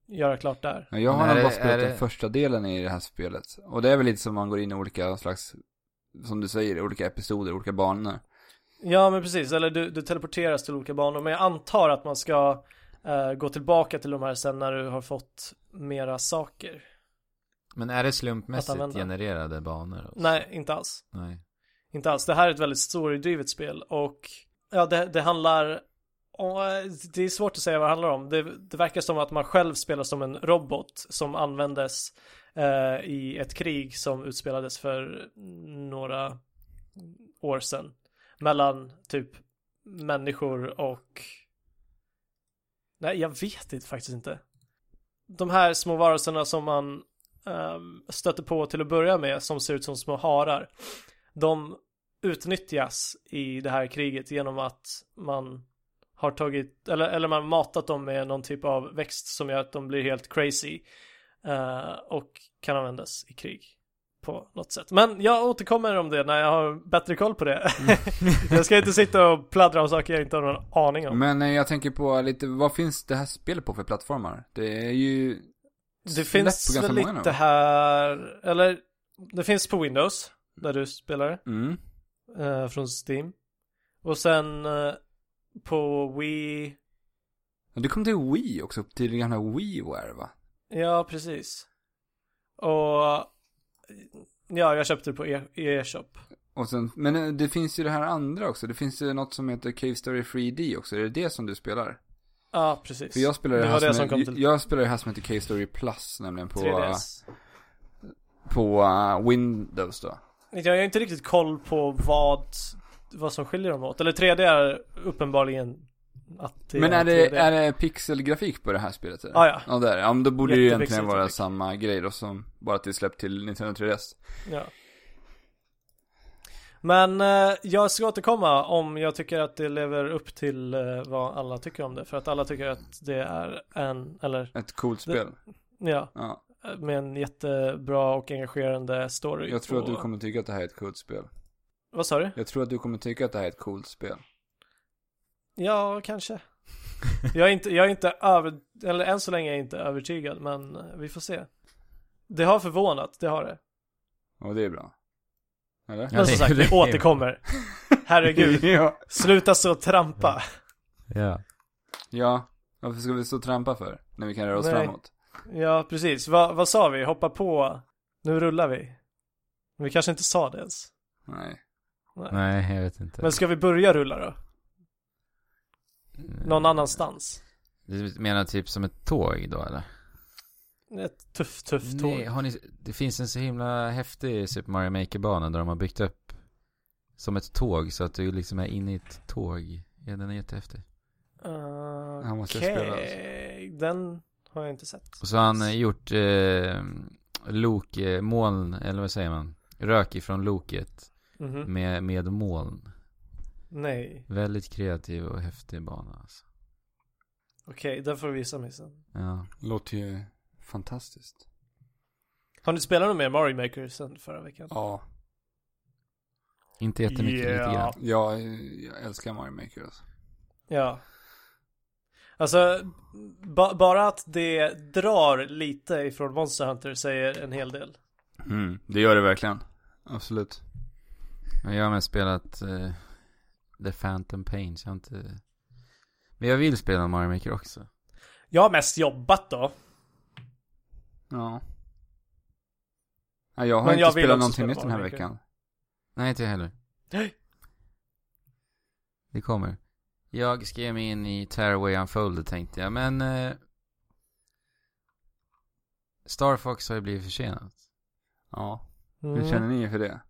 Speaker 3: göra klart där.
Speaker 1: Ja, Jag har
Speaker 2: Men
Speaker 1: nog
Speaker 2: är
Speaker 1: bara
Speaker 2: det-
Speaker 1: spelat
Speaker 2: är
Speaker 1: den
Speaker 2: det-
Speaker 1: första delen i det här spelet. Och det är väl lite som man går in i olika slags, som du säger, olika episoder, olika banor.
Speaker 3: Ja men precis, eller du, du teleporteras till olika banor men jag antar att man ska eh, gå tillbaka till de här sen när du har fått mera saker.
Speaker 2: Men är det
Speaker 3: Att
Speaker 2: slumpmässigt
Speaker 3: använda.
Speaker 2: genererade banor? och så?
Speaker 3: Nej, inte alls.
Speaker 2: Nej.
Speaker 3: Inte alls. Det här är ett väldigt storydrivet spel och ja, det, det handlar och eh, det är svårt att säga vad det handlar om. Det, det verkar som att man själv spelar som en robot som användes eh, i ett krig som utspelades för några år sedan. Mellan typ människor och... Nej, jag vet inte, faktiskt inte. De här små varelserna som man eh, stöter på till att börja med som ser ut som små harar de utnyttjas i det här kriget genom att man har tagit, eller, eller man matat dem med någon typ av växt som gör att de blir helt crazy eh, och kan användas i krig på något sätt. Men jag återkommer om det när jag har bättre koll på det. <laughs> jag ska inte sitta och pladdra om saker jag inte har någon aning om.
Speaker 1: Men eh, jag tänker på lite, vad finns det här spelet på för plattformar? Det är ju...
Speaker 3: Det
Speaker 1: släppt på
Speaker 3: finns
Speaker 1: ganska
Speaker 3: väl
Speaker 1: många nu,
Speaker 3: lite
Speaker 1: va?
Speaker 3: här, eller det finns på Windows där du spelar det.
Speaker 1: Mm.
Speaker 3: eh, från Steam. Och sen eh, på Wii,
Speaker 1: Men Det kom till Wii också, till det gamla WiiWare va?
Speaker 3: ja precis. Och ja, jag köpte det på e- e-shop.
Speaker 1: Och sen, men eh, det finns ju det här andra också, det finns ju något som heter Cave Story 3D också, är det det som du spelar?
Speaker 3: Ja, precis.
Speaker 1: För jag spelar det,
Speaker 3: Det
Speaker 1: här
Speaker 3: var
Speaker 1: som,
Speaker 3: det som kom
Speaker 1: jag-
Speaker 3: till-
Speaker 1: jag spelar det här som heter K-Story Plus, nämligen på,
Speaker 3: 3DS.
Speaker 1: på eh, Windows då.
Speaker 3: Jag har ju inte riktigt koll på vad, vad som skiljer dem åt. Eller 3D är uppenbarligen att det
Speaker 1: Men är det,
Speaker 3: 3D.
Speaker 1: är det pixelgrafik på det här spelet? eller?
Speaker 3: Ah, ja.
Speaker 1: ja, det är det. Ja, men då borde det ju egentligen
Speaker 3: Jättepixelgrafik.
Speaker 1: vara samma grej då som bara att det är släppt till Nintendo 3DS.
Speaker 3: Ja. Men eh, jag ska återkomma om jag tycker att det lever upp till eh, vad alla tycker om det. För att alla tycker att det är en, eller
Speaker 1: Ett coolt spel.
Speaker 3: ja,
Speaker 1: Ja,
Speaker 3: med en jättebra och engagerande story.
Speaker 1: jag tror att du
Speaker 3: och-
Speaker 1: kommer tycka att det här är ett coolt spel.
Speaker 3: Vad sa du?
Speaker 1: Jag tror att du kommer tycka att det här är ett coolt spel.
Speaker 3: Ja, kanske. Jag är inte, jag är inte över, eller än så länge är jag inte övertygad, men eh, vi får se. Det har förvånat, det har det.
Speaker 1: Och det är bra. Eller?
Speaker 2: Ja,
Speaker 3: Men som
Speaker 2: det-
Speaker 3: sagt,
Speaker 2: det-
Speaker 3: vi återkommer.
Speaker 1: <laughs>
Speaker 3: Herregud,
Speaker 1: ja.
Speaker 3: sluta så trampa.
Speaker 2: Ja.
Speaker 1: ja. Varför ska vi stå och trampa för? När vi kan röra oss
Speaker 3: Nej.
Speaker 1: framåt.
Speaker 3: Ja, precis. Va, vad sa vi? Hoppa på. Nu rullar vi. Men vi kanske inte sa det ens.
Speaker 1: Nej.
Speaker 2: Nej, jag vet inte.
Speaker 3: Men ska vi börja rulla då? Någon
Speaker 1: Eh,
Speaker 3: annanstans?
Speaker 2: Du menar typ som ett tåg då eller?
Speaker 3: Ett tufft, tufft
Speaker 2: Nej,
Speaker 3: tåg.
Speaker 2: har ni, det finns en så himla häftig Super Mario Maker-bana där de har byggt upp som ett tåg så att du liksom är inne i ett tåg. Ja, den är jättehäftig.
Speaker 3: Uh,
Speaker 1: Han måste
Speaker 3: Eh, Okej,
Speaker 1: spela alltså.
Speaker 3: den har jag inte sett.
Speaker 2: Och så har han eh, gjort eh, lok, eh, moln, eller vad säger man? Rök ifrån loket
Speaker 1: Mm.
Speaker 3: Mhm.
Speaker 2: med, med moln.
Speaker 3: Nej,
Speaker 2: Väldigt kreativ och häftig bana alltså.
Speaker 3: okej, den får du visa mig sen.
Speaker 2: Ja.
Speaker 1: Låter ju fantastiskt.
Speaker 3: Har ni spelat något mer Mario Maker sen förra veckan?
Speaker 1: Ja.
Speaker 2: Inte jättemycket, lite grann.
Speaker 1: Jag, jag älskar Mario Maker alltså.
Speaker 3: Ja. Alltså, ba- bara att det drar lite ifrån Monster Hunter säger en hel del.
Speaker 1: Mm, det gör det verkligen. Absolut.
Speaker 2: Men jag har mest spelat eh, The Phantom Pain, så jag har inte... Men jag vill spela Mario Maker också.
Speaker 3: Jag har mest jobbat då.
Speaker 1: Ja. Nej, jag har
Speaker 3: Men
Speaker 1: inte
Speaker 3: jag vill
Speaker 1: spelat
Speaker 3: också
Speaker 1: någonting
Speaker 3: spela
Speaker 1: nytt den här
Speaker 3: Mario Maker.
Speaker 1: veckan.
Speaker 2: Nej, inte jag heller.
Speaker 3: Nej.
Speaker 2: Det kommer. Jag ska ge mig in i Tearaway Unfolded tänkte jag, men... Eh, Star Fox har ju blivit försenat.
Speaker 1: Ja.
Speaker 3: Mm.
Speaker 1: Hur känner ni inför det?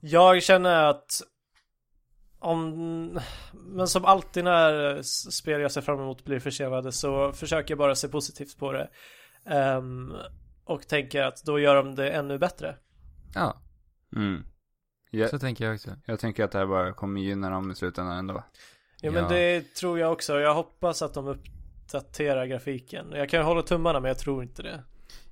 Speaker 3: Jag känner att om, men som alltid när s- spel jag ser fram emot blir försenade så försöker jag bara se positivt på det. Ehm, och tänker att då gör de det ännu bättre.
Speaker 2: Ja,
Speaker 1: Mm. Jag,
Speaker 2: så tänker jag också.
Speaker 1: jag tänker att det här bara kommer gynna dem i slutändan ändå.
Speaker 3: Ja, men
Speaker 2: Ja.
Speaker 3: det tror jag också. Jag hoppas att de uppdaterar grafiken. Jag kan ju hålla tummarna men jag tror inte det.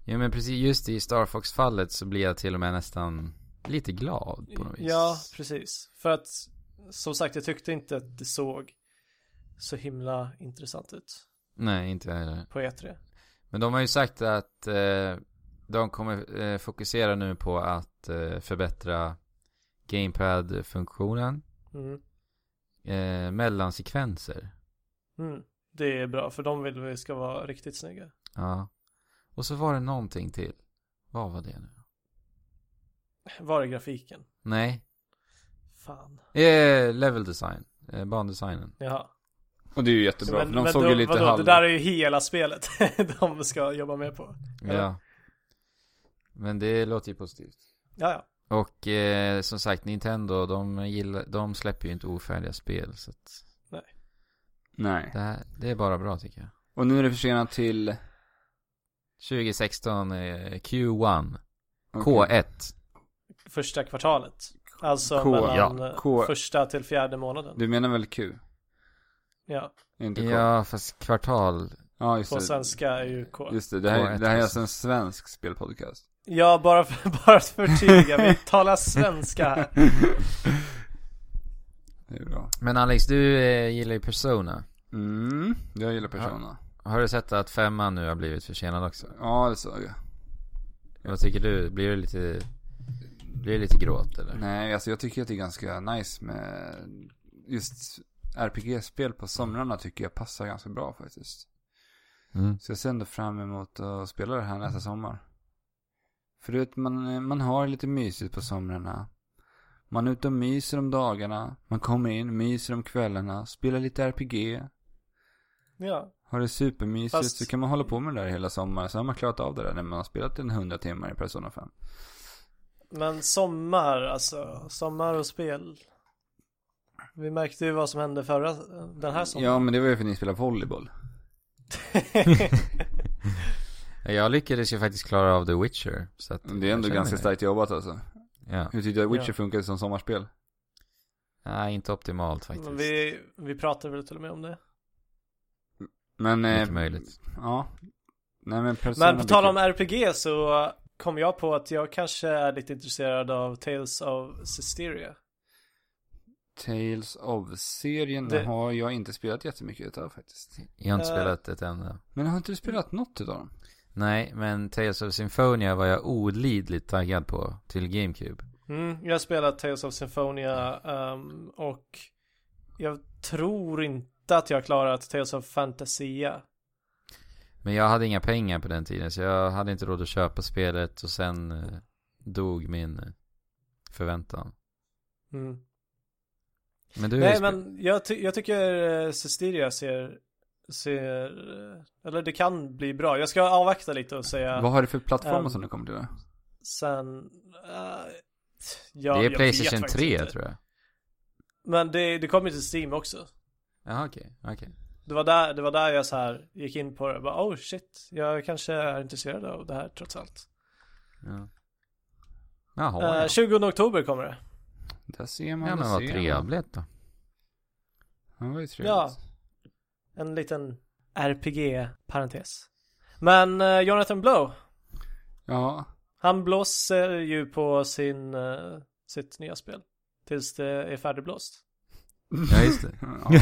Speaker 2: Ja, men precis, just i Star Fox-fallet så blir jag till och med nästan lite glad på något vis.
Speaker 3: Ja, precis. För att som sagt, jag tyckte inte att det såg så himla intressant ut
Speaker 2: Nej, inte jag heller.
Speaker 3: på E E3.
Speaker 2: Men de har ju sagt att eh, de kommer eh, fokusera nu på att eh, förbättra Gamepad-funktionen
Speaker 3: Mm.
Speaker 2: eh, mellan sekvenser.
Speaker 3: Mm. Det är bra, för de vill vi ska vara riktigt snygga.
Speaker 2: Ja. Och så var det någonting till. Vad var det nu?
Speaker 3: Var är grafiken?
Speaker 2: Nej.
Speaker 3: Fan.
Speaker 2: Eh, level design. Eh, bandesignen.
Speaker 3: Jaha.
Speaker 1: Och det är ju jättebra.
Speaker 3: Men-
Speaker 1: för de
Speaker 3: men
Speaker 1: såg
Speaker 3: då-
Speaker 1: ju lite
Speaker 3: vadå,
Speaker 1: halv...
Speaker 3: Det där är ju hela spelet <laughs> de ska jobba med på.
Speaker 2: Ja.
Speaker 3: Ja.
Speaker 2: Men det låter ju positivt.
Speaker 3: Ja, ja.
Speaker 2: Och eh, som sagt, Nintendo, de, gillar, de släpper ju inte ofärdiga spel. Så att
Speaker 1: Nej.
Speaker 2: det, här, det är bara bra tycker jag.
Speaker 1: Och nu är det försenat till...
Speaker 2: 2016 eh, Q1.
Speaker 1: Okej.
Speaker 2: K1.
Speaker 3: Första kvartalet. Alltså
Speaker 1: K-
Speaker 3: mellan
Speaker 1: ja,
Speaker 3: eh,
Speaker 1: K-
Speaker 3: första till fjärde månaden.
Speaker 1: Du menar väl Q?
Speaker 3: Ja,
Speaker 1: Inte K?
Speaker 2: Ja, fast kvartal.
Speaker 1: ja just
Speaker 3: på
Speaker 1: det.
Speaker 3: svenska är ju K.
Speaker 1: Just det, det här,
Speaker 2: K1,
Speaker 1: det här är alltså
Speaker 2: alltså.
Speaker 1: en svensk spelpodcast.
Speaker 3: Ja, bara för, <laughs> bara för att <laughs>
Speaker 1: <laughs>
Speaker 3: förtydliga, vi talar svenska här.
Speaker 1: Det är bra.
Speaker 2: Men Alex, du eh, gillar ju Persona.
Speaker 1: Mm, jag gillar Persona.
Speaker 2: Har du sett att femman nu har blivit försenad också?
Speaker 1: Ja, det såg jag.
Speaker 2: Vad tycker du? Blir det lite, blir det lite gråt eller?
Speaker 1: Nej, alltså jag tycker att det är ganska nice med just RPG-spel på somrarna tycker jag passar ganska bra faktiskt.
Speaker 2: Mm.
Speaker 1: Så jag ser ändå fram emot att spela det här nästa sommar. För du vet, man, man har lite mysigt på somrarna. Man är ute och myser om dagarna. Man kommer in, myser om kvällarna. Spelar lite RPG.
Speaker 3: Ja.
Speaker 1: Har det supermysigt.
Speaker 3: Fast-
Speaker 1: Så kan man hålla på med det där hela sommaren. Sen har man klarat av det där när man har spelat en 100 timmar i Persona 5.
Speaker 3: Men sommar, alltså. Sommar och spel. Vi märkte ju vad som hände förra, den här sommaren.
Speaker 1: Ja, men det var ju för att ni spelade volleyboll.
Speaker 2: Jag lyckades ju faktiskt klara av The Witcher. Så att
Speaker 1: Det är ändå
Speaker 2: jag
Speaker 1: ganska
Speaker 2: känner-
Speaker 1: starkt jobbat alltså.
Speaker 2: Ja.
Speaker 1: Hur tyckte du att Witcher
Speaker 3: Ja.
Speaker 1: funkade som sommarspel?
Speaker 2: Nej, inte optimalt faktiskt.
Speaker 3: Men vi, vi pratade väl till och med om det.
Speaker 1: Men,
Speaker 2: Mycket
Speaker 1: eh,
Speaker 2: möjligt.
Speaker 1: ja. Nej men Persona
Speaker 3: Men på tal om
Speaker 1: blir
Speaker 3: RPG så kom jag på att jag kanske är lite intresserad av Tales of
Speaker 1: kul.
Speaker 3: Systeria.
Speaker 1: Tales of-serien
Speaker 3: Det-
Speaker 1: har jag inte spelat jättemycket utav faktiskt.
Speaker 2: Jag har inte
Speaker 3: Eh.
Speaker 2: spelat ett enda.
Speaker 1: Men har inte du spelat något utav dem?
Speaker 2: Nej, men Tales of Symphonia var jag olidligt taggad på till GameCube.
Speaker 3: Mm, jag har spelat Tales of Symphonia ehm, och jag tror inte att jag har klarat Tales of Fantasia.
Speaker 2: Men jag hade inga pengar på den tiden så jag hade inte råd att köpa spelet och sen eh, dog min eh, förväntan.
Speaker 3: Mm.
Speaker 2: Men du har ju
Speaker 3: Nej
Speaker 2: spe-
Speaker 3: men jag, ty- jag tycker eh, Systeria ser, ser, eh, eller det kan bli bra. Jag ska avvakta lite och säga
Speaker 1: Vad har du för plattformar
Speaker 3: Ehm,
Speaker 1: som du kommer till?
Speaker 3: sen. eh, ja,
Speaker 2: Det
Speaker 3: jag
Speaker 2: är
Speaker 3: vet
Speaker 2: Playstation
Speaker 3: faktiskt
Speaker 2: 3
Speaker 3: inte.
Speaker 2: tror jag.
Speaker 3: Men det, det kommer ju till Steam också.
Speaker 2: Jaha okej, okej.
Speaker 3: Det var där, det var där jag så här gick in på det. Jag Bara, oh shit, jag kanske är intresserad av det här trots allt.
Speaker 2: Ja. Jaha
Speaker 3: Eh,
Speaker 2: ja.
Speaker 3: 20 oktober kommer det.
Speaker 1: Där ser man,
Speaker 2: ja
Speaker 1: där
Speaker 2: men vad
Speaker 1: ser man.
Speaker 2: trevligt då.
Speaker 1: Ja, Det var ju trevligt.
Speaker 3: Ja. En liten RPG-parentes. Men eh, Jonathan Blow,
Speaker 1: Ja.
Speaker 3: han blåser ju på sin, eh, sitt nya spel. Tills det är färdigblåst.
Speaker 2: <laughs> Ja just det.
Speaker 1: <laughs> ja.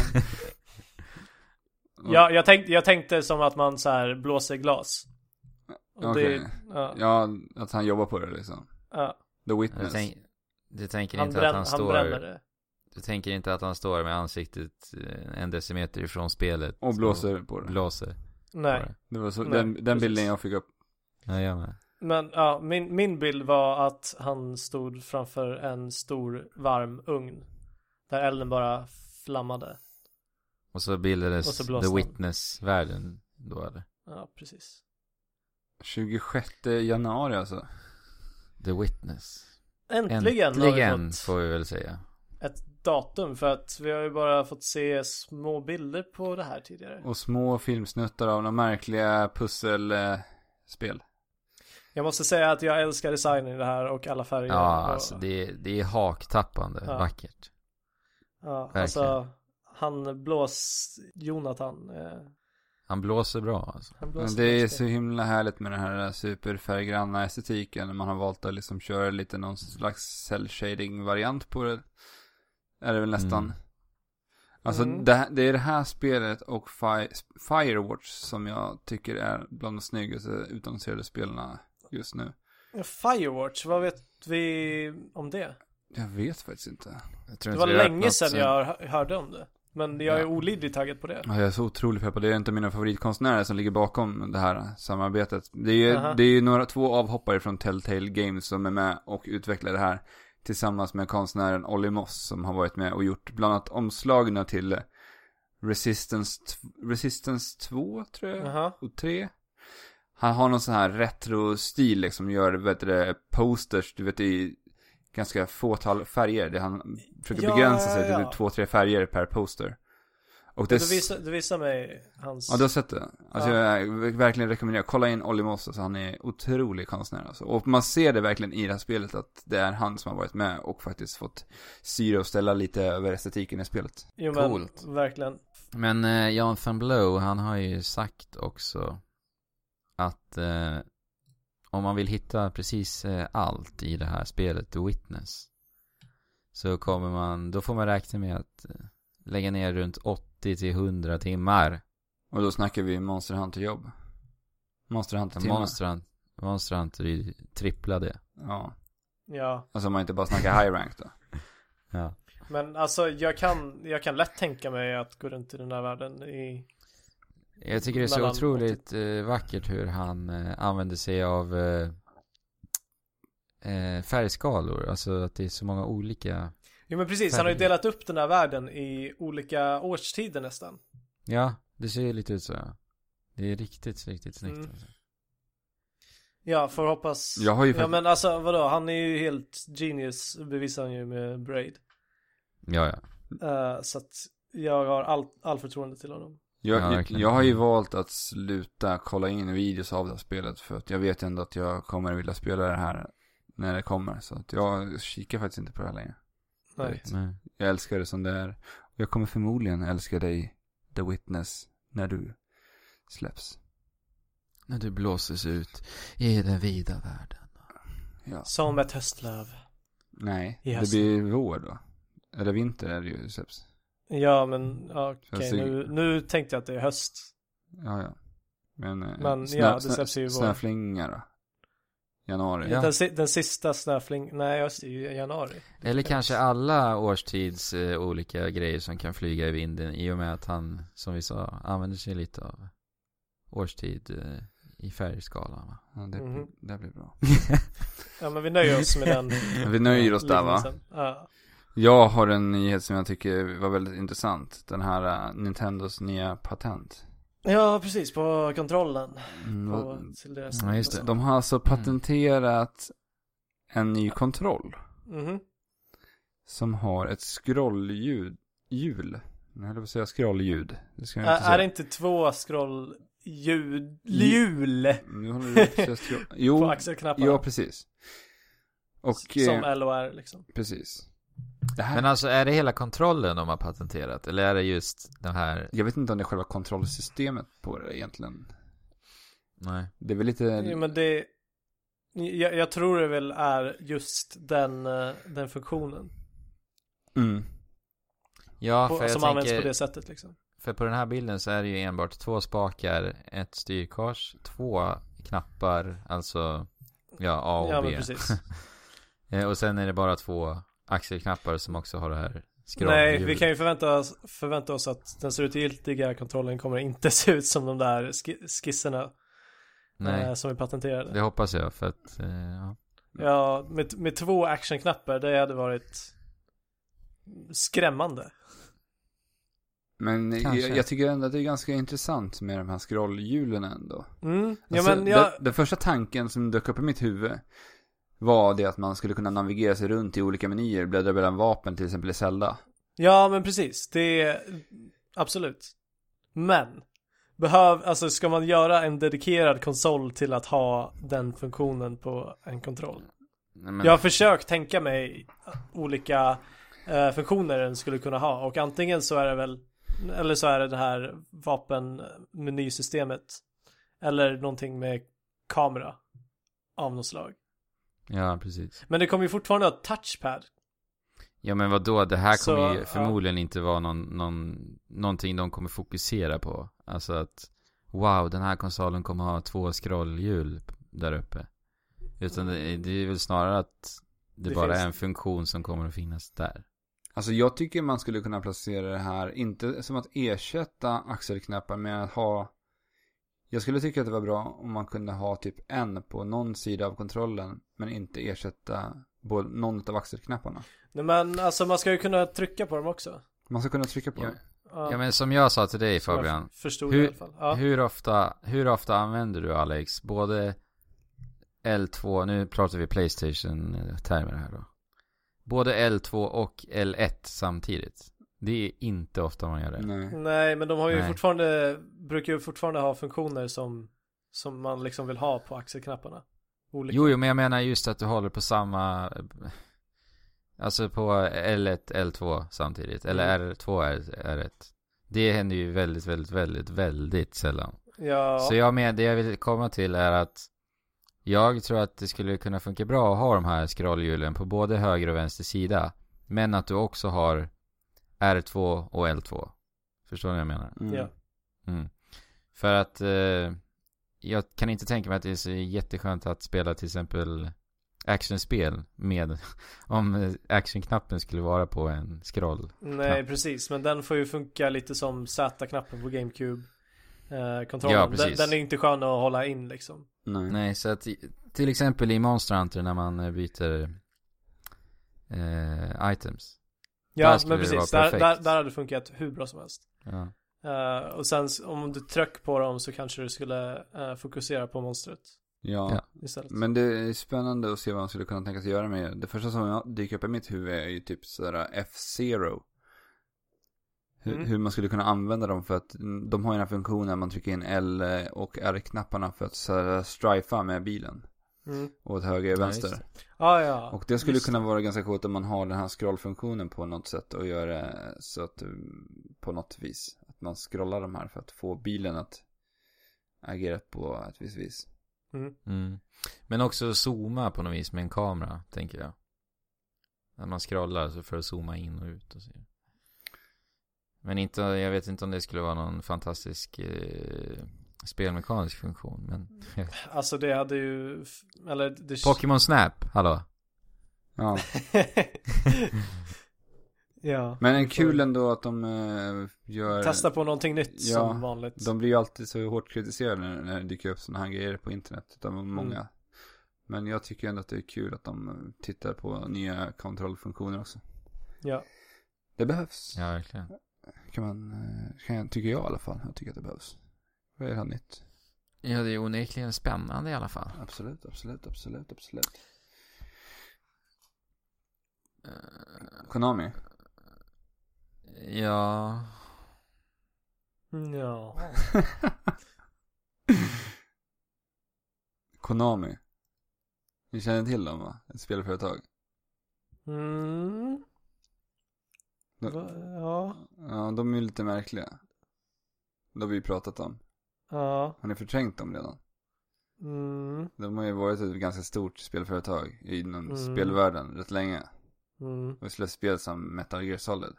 Speaker 1: Mm.
Speaker 3: Jag, jag, tänkte, jag tänkte som att man så här blåser glas. Och
Speaker 1: Okej.
Speaker 3: det, ja,
Speaker 1: ja, att han jobbar på det liksom.
Speaker 3: ja.
Speaker 1: The
Speaker 2: Du,
Speaker 1: Witness.
Speaker 2: tänk, du tänker
Speaker 3: Han,
Speaker 2: inte
Speaker 3: brän,
Speaker 2: att han
Speaker 3: han
Speaker 2: står...
Speaker 3: bränner det.
Speaker 2: Du tänker inte att han står med ansiktet eh, en decimeter ifrån spelet?
Speaker 1: Och blåser på
Speaker 2: och
Speaker 1: det.
Speaker 2: Blåser.
Speaker 3: Nej.
Speaker 1: Det var så,
Speaker 3: Nej,
Speaker 1: den, den
Speaker 3: precis.
Speaker 1: bilden jag fick upp.
Speaker 2: Ja, jag med.
Speaker 3: Men ja, min, min bild var att han stod framför en stor varm ugn. Där elden bara flammade.
Speaker 2: Och så bildades
Speaker 3: Och så blåste
Speaker 2: The
Speaker 3: han.
Speaker 2: Witness-världen då eller?
Speaker 3: Ja, precis.
Speaker 1: 26 januari alltså.
Speaker 2: The Witness.
Speaker 3: Äntligen, har vi fått
Speaker 2: får vi väl säga.
Speaker 3: ett datum för att vi har ju bara fått se små bilder på det här tidigare.
Speaker 1: Och små filmsnuttar av några märkliga pusselspel.
Speaker 3: Jag måste säga att jag älskar designen i det här och alla färger.
Speaker 2: Ja,
Speaker 3: och,
Speaker 2: alltså det, är- det är haktappande
Speaker 3: Ja.
Speaker 2: vackert.
Speaker 3: ja,
Speaker 2: verkligen.
Speaker 3: alltså han blås... Jonathan. Eh,
Speaker 2: Han blåser bra alltså.
Speaker 3: han
Speaker 1: Men
Speaker 3: blåser
Speaker 1: det är
Speaker 3: just
Speaker 1: så himla härligt med den här eh, superfärggranna estetiken. När man har valt att liksom köra lite någon slags cell-shading variant på det. Är det väl nästan.
Speaker 2: Mm.
Speaker 1: Alltså
Speaker 3: Mm.
Speaker 1: det, här- det är det här spelet och Fi Firewatch som jag tycker är bland de snyggaste utannonserade spelarna just nu.
Speaker 3: Firewatch, vad vet vi om det?
Speaker 1: Jag vet faktiskt inte.
Speaker 2: Jag tror
Speaker 3: Det
Speaker 2: inte
Speaker 3: var
Speaker 1: Alltså,
Speaker 2: vi har
Speaker 3: länge
Speaker 2: öppnat
Speaker 3: sedan jag hör- hörde om det. Men jag är
Speaker 1: Ja.
Speaker 3: olidligt taggad på det.
Speaker 1: Ja, jag är så otroligt peppad. Det är inte mina favoritkonstnärer som ligger bakom det här samarbetet. Det är ju,
Speaker 3: Aha.
Speaker 1: det är ju några, två avhoppare från Telltale Games som är med och utvecklar det här. Tillsammans med konstnären Olly Moss som har varit med och gjort bland annat omslagna till Resistance, t- Resistance 2 tror jag.
Speaker 3: Jaha.
Speaker 1: och tre. Han har någon sån här retro-stil liksom, gör vet du, det, posters, du vet i ganska fåtal färger. Det han försöker
Speaker 3: Ja,
Speaker 1: begränsa sig
Speaker 3: ja,
Speaker 1: till
Speaker 3: ja.
Speaker 1: två, tre färger per poster. Och det...
Speaker 3: Du, visar, du visar mig hans...
Speaker 1: Ja, du har sett det. Alltså
Speaker 3: Ja.
Speaker 1: jag vill verkligen rekommenderar, kolla in Olli Moss, alltså han är otrolig konstnär alltså. Och man ser det verkligen i det här spelet att det är han som har varit med och faktiskt fått styra och ställa lite över estetiken i spelet.
Speaker 3: jo, men,
Speaker 2: Coolt.
Speaker 3: Verkligen.
Speaker 2: Men eh, Jan van Blow, han har ju sagt också att eh, om man vill hitta precis eh, allt i det här spelet, The Witness, så kommer man, då får man räkna med att eh, lägga ner runt 80 till 100 timmar.
Speaker 1: Och då snackar vi Monster Hunter-jobb. Monster Hunter-timmar.
Speaker 2: Monstrant, Monstrant är ju trippla det.
Speaker 1: Ja.
Speaker 3: Ja.
Speaker 1: Alltså om man inte bara snackar high rank då.
Speaker 2: Ja.
Speaker 3: Men alltså jag kan, jag kan lätt tänka mig att gå runt i den här världen i...
Speaker 2: Jag tycker det är så
Speaker 3: Mellan
Speaker 2: otroligt eh, vackert hur han eh, använder sig av eh, eh, färgskalor, alltså att det är så många olika
Speaker 3: Jo men precis, han har ju
Speaker 2: Verkligen.
Speaker 3: delat upp den här världen i olika årstider nästan.
Speaker 2: Ja, Det ser ju lite ut så. ja. Det är riktigt, riktigt snyggt.
Speaker 3: Mm.
Speaker 2: Alltså.
Speaker 3: Ja, får hoppas.
Speaker 1: Jag har ju
Speaker 3: Ja
Speaker 1: faktiskt...
Speaker 3: men alltså vadå, han är ju helt genius bevisar han ju med Braid.
Speaker 2: Ja, ja.
Speaker 3: Eh, så att jag har allt all förtroende till honom.
Speaker 1: Jag,
Speaker 2: Ja,
Speaker 1: jag,
Speaker 2: verkligen.
Speaker 1: jag har ju valt att sluta kolla in videos av det här spelet för att jag vet ändå att jag kommer vilja spela det här när det kommer. Så att jag kikar faktiskt inte på det här längre.
Speaker 3: Nej.
Speaker 1: Direkt.
Speaker 2: Nej.
Speaker 1: Jag älskar det som det är. Och jag kommer förmodligen älska dig, The Witness, när du släpps.
Speaker 2: När du blåses ut i den vida världen.
Speaker 1: Ja.
Speaker 3: Som ett höstlöv.
Speaker 1: Nej,
Speaker 3: Yes.
Speaker 1: det blir vår då. Eller vinter är det ju släpps.
Speaker 3: Ja men ja, okej
Speaker 1: Känns det-
Speaker 3: nu, nu tänkte jag att det är höst.
Speaker 1: Ja, ja. Men, eh,
Speaker 3: Men,
Speaker 1: snö,
Speaker 3: ja, det
Speaker 1: snö-
Speaker 3: släpps ju i vår.
Speaker 1: Snöflingar då? Januari.
Speaker 2: Ja.
Speaker 3: Den, si- den sista snöfling, nej just det, det är ju januari.
Speaker 2: Eller kanske alla årstids eh, olika grejer som kan flyga i vinden i och med att han, som vi sa, använder sig lite av årstid eh, i färgskalan va?
Speaker 1: Ja, det,
Speaker 3: Mhm.
Speaker 1: det blir bra.
Speaker 3: Ja men vi nöjer oss med den.
Speaker 1: <laughs> Vi nöjer oss där va?
Speaker 3: liknelsen. Ja.
Speaker 1: Jag har en nyhet som jag tycker var väldigt intressant. Den här eh, Nintendos nya patent.
Speaker 3: ja precis, på kontrollen.
Speaker 1: Mm, vad-
Speaker 3: På, Mm. till deras
Speaker 2: Ja, just det.
Speaker 1: De har alltså patenterat en ny kontroll.
Speaker 3: Mhm.
Speaker 1: Som har ett scrollljud. Hjul. Nu höll jag på att säga scrollljud. Det ska jag inte
Speaker 3: Ä-
Speaker 1: säga.
Speaker 3: Är det inte två scroll ljud, ljul
Speaker 1: Nu håller du
Speaker 3: <laughs>
Speaker 1: på att säga scroll...
Speaker 3: på
Speaker 1: Jo,
Speaker 3: axelknapparna?
Speaker 1: ja precis. Och,
Speaker 3: S- Som
Speaker 1: eh,
Speaker 3: LOR liksom.
Speaker 1: precis. Det här,
Speaker 2: Men alltså är det hela kontrollen de har patenterat? Eller är det just den här?
Speaker 1: jag vet inte om det är själva kontrollsystemet på det egentligen.
Speaker 2: Nej.
Speaker 1: Det är väl lite...
Speaker 3: Jo, men det, jag, jag tror det väl är just den, eh, den funktionen.
Speaker 1: Mm.
Speaker 2: Ja,
Speaker 3: På,
Speaker 2: för
Speaker 3: som
Speaker 2: jag
Speaker 3: används på
Speaker 2: tänker,
Speaker 3: det sättet liksom.
Speaker 2: för på den här bilden så är det ju enbart två spakar, ett styrkors, två knappar, alltså ja, A och
Speaker 3: Ja
Speaker 2: B. <laughs>
Speaker 3: men precis.
Speaker 2: Eh, Och sen är det bara två axelknappar som också har det här
Speaker 3: Nej,
Speaker 2: scrollhjulet.
Speaker 3: vi kan ju förvänta oss, förvänta oss att den slutgiltiga kontrollen kommer inte <laughs> se ut som de där ski- skisserna
Speaker 2: Nej,
Speaker 3: eh, som är patenterade.
Speaker 2: det hoppas jag för att, eh, ja.
Speaker 3: Ja, med, med två actionknappar, det hade varit skrämmande.
Speaker 1: Men jag,
Speaker 2: Kanske.
Speaker 1: jag tycker ändå att det är ganska intressant med de här scrollhjulen ändå.
Speaker 3: Mm. Ja,
Speaker 1: Alltså,
Speaker 3: men jag,
Speaker 1: den, den första tanken som dök upp i mitt huvud var det att man skulle kunna navigera sig runt i olika menyer, bläddra mellan vapen till exempel i Zelda.
Speaker 3: ja, men precis. Det är absolut. Men, behöv, alltså ska man göra en dedikerad konsol till att ha den funktionen på en kontroll?
Speaker 2: Nej, men,
Speaker 3: Jag har försökt tänka mig olika eh, funktioner den skulle kunna ha och antingen så är det väl eller så är det det här vapenmenysystemet eller någonting med kamera av något slag.
Speaker 2: Ja, precis.
Speaker 3: Men det kommer ju fortfarande ha touchpad.
Speaker 2: Ja, men vad då? Det här
Speaker 3: Så,
Speaker 2: kommer ju
Speaker 3: ja.
Speaker 2: förmodligen inte vara någon, någon, någonting de kommer fokusera på. Alltså att, wow, den här konsolen kommer ha två scrollhjul där uppe. Utan det, det är väl snarare att det,
Speaker 3: Det
Speaker 2: bara
Speaker 3: finns-
Speaker 2: är en funktion som kommer att finnas där.
Speaker 1: Alltså jag tycker man skulle kunna placera det här, inte som att ersätta axelknappar, men att ha... Jag skulle tycka att det var bra om man kunde ha typ en på någon sida av kontrollen, men inte ersätta både någon av axelknapparna.
Speaker 3: Nej men alltså man ska ju kunna trycka på dem också.
Speaker 1: Man ska kunna trycka på
Speaker 2: Ja,
Speaker 1: dem.
Speaker 3: Ja,
Speaker 2: Ja, men som jag sa till dig
Speaker 3: som jag
Speaker 2: Fabian,
Speaker 3: f- Förstod
Speaker 2: Hur-
Speaker 3: i alla fall. Ja.
Speaker 2: Hur ofta, hur ofta använder du Alex? Både L2, nu pratar vi Playstation-termer här då. Både L2 och L1 samtidigt. Det är inte ofta man gör det.
Speaker 1: Nej.
Speaker 3: Nej men de har ju
Speaker 2: Nej.
Speaker 3: fortfarande, brukar ju fortfarande ha funktioner som, som man liksom vill ha på axelknapparna. Olika.
Speaker 2: Jo, jo, men jag menar just att du håller på samma... eh, Alltså på L1, L2 samtidigt. Eller R2, R1. Det händer ju väldigt, väldigt, väldigt, väldigt sällan.
Speaker 3: Ja.
Speaker 2: Så jag med, det jag vill komma till är att jag tror att det skulle kunna funka bra att ha de här scrollhjulen på både höger och vänster sida. Men att du också har R2 och L2. Förstår ni vad jag menar?
Speaker 1: Mm.
Speaker 3: Ja.
Speaker 2: Mm. För att eh, jag kan inte tänka mig att det är så jätteskönt att spela till exempel actionspel med <laughs> om actionknappen skulle vara på en scroll.
Speaker 3: Nej, precis. Men den får ju funka lite som Z-knappen på GameCube-kontrollen.
Speaker 2: Ja,
Speaker 3: den,
Speaker 2: precis.
Speaker 3: den är ju inte skön att hålla in liksom.
Speaker 1: Nej.
Speaker 2: Nej, så att i- till exempel i Monster Hunter när man eh, byter eh, items.
Speaker 3: Ja,
Speaker 2: skulle
Speaker 3: men
Speaker 2: det vara
Speaker 3: precis. Där,
Speaker 2: perfekt.
Speaker 3: där, där hade det funkat hur bra som helst.
Speaker 2: Ja.
Speaker 3: Eh, och sen s- om du tryck på dem så kanske du skulle eh, fokusera på monstret
Speaker 1: Ja.
Speaker 2: Ja.
Speaker 3: istället.
Speaker 1: Men det är spännande att se vad han skulle kunna tänka sig göra med det. Det första som dyker upp i mitt huvud är ju typ sådär F-Zero. Hur,
Speaker 3: Mm.
Speaker 1: hur man skulle kunna använda dem för att mm, de har ju den här funktionen man trycker in L och R-knapparna för att sådär, strifa med bilen.
Speaker 3: Mm.
Speaker 1: Åt höger och
Speaker 2: Ja, just
Speaker 1: vänster.
Speaker 3: Ah, ja.
Speaker 1: och det skulle
Speaker 3: just
Speaker 1: kunna vara ganska coolt om man har den här scrollfunktionen på något sätt och gör det så att mm, på något vis. Att man scrollar de här för att få bilen att agera på ett visst vis.
Speaker 2: Mm. Men också zooma på något vis med en kamera, tänker jag. När man scrollar så för att zooma in och ut och så. Men inte, jag vet inte om det skulle vara någon fantastisk eh, spelmekanisk funktion. Men
Speaker 3: Alltså det hade ju, f- eller det...
Speaker 2: Pokémon Snap, <laughs> hallå?
Speaker 1: Ja.
Speaker 3: ja.
Speaker 1: Men en kul ändå att de eh, gör...
Speaker 3: Testa på någonting nytt
Speaker 1: Ja,
Speaker 3: som vanligt.
Speaker 1: De blir ju alltid så hårt kritiserade när, när det dyker upp sådana här grejer på internet. Av många. Men jag tycker ändå att det är kul att de eh, tittar på nya kontrollfunktioner också.
Speaker 3: Ja.
Speaker 1: Det behövs.
Speaker 2: Ja, verkligen.
Speaker 1: Kan man, eh, kan jag, tycker jag i alla fall. Jag tycker att det behövs. Vad är det här nytt?
Speaker 2: Ja, det är onekligen spännande i alla fall.
Speaker 1: Absolut, absolut, absolut, absolut.
Speaker 2: Eh,
Speaker 1: <laughs> Konami.
Speaker 2: Ja,
Speaker 3: Mm, Ja.
Speaker 1: Konami. Ni känner till dem va? Ett spelföretag.
Speaker 3: Mm.
Speaker 1: De,
Speaker 3: Va- Ja.
Speaker 1: Ja, de är ju lite märkliga. Det har vi ju pratat om.
Speaker 3: Ja.
Speaker 1: Har ni förträngt dem redan?
Speaker 3: Mm.
Speaker 1: De har ju varit ett ganska stort spelföretag inom
Speaker 3: Mm.
Speaker 1: spelvärlden rätt länge.
Speaker 3: Mm.
Speaker 1: Och släppt spel som Metal Gear Solid.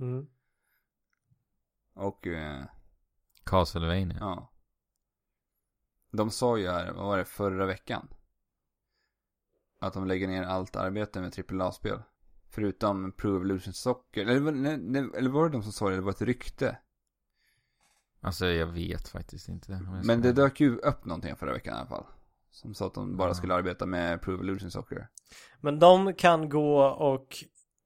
Speaker 3: Mm.
Speaker 1: Och, eh,
Speaker 2: Castlevania.
Speaker 1: ja. De sa ju här, vad var det, förra veckan? Att de lägger ner allt arbete med AAA-spel. Förutom Pro Evolution Soccer. Eller, var- nej, nej, eller var det de som sa det? Det var ett rykte.
Speaker 2: Alltså jag vet faktiskt inte. om jag ska-
Speaker 1: Men det dök ju upp någonting förra veckan i alla fall. Som sa att de bara
Speaker 2: Ja.
Speaker 1: skulle arbeta med Pro Evolution Soccer.
Speaker 3: Men de kan gå och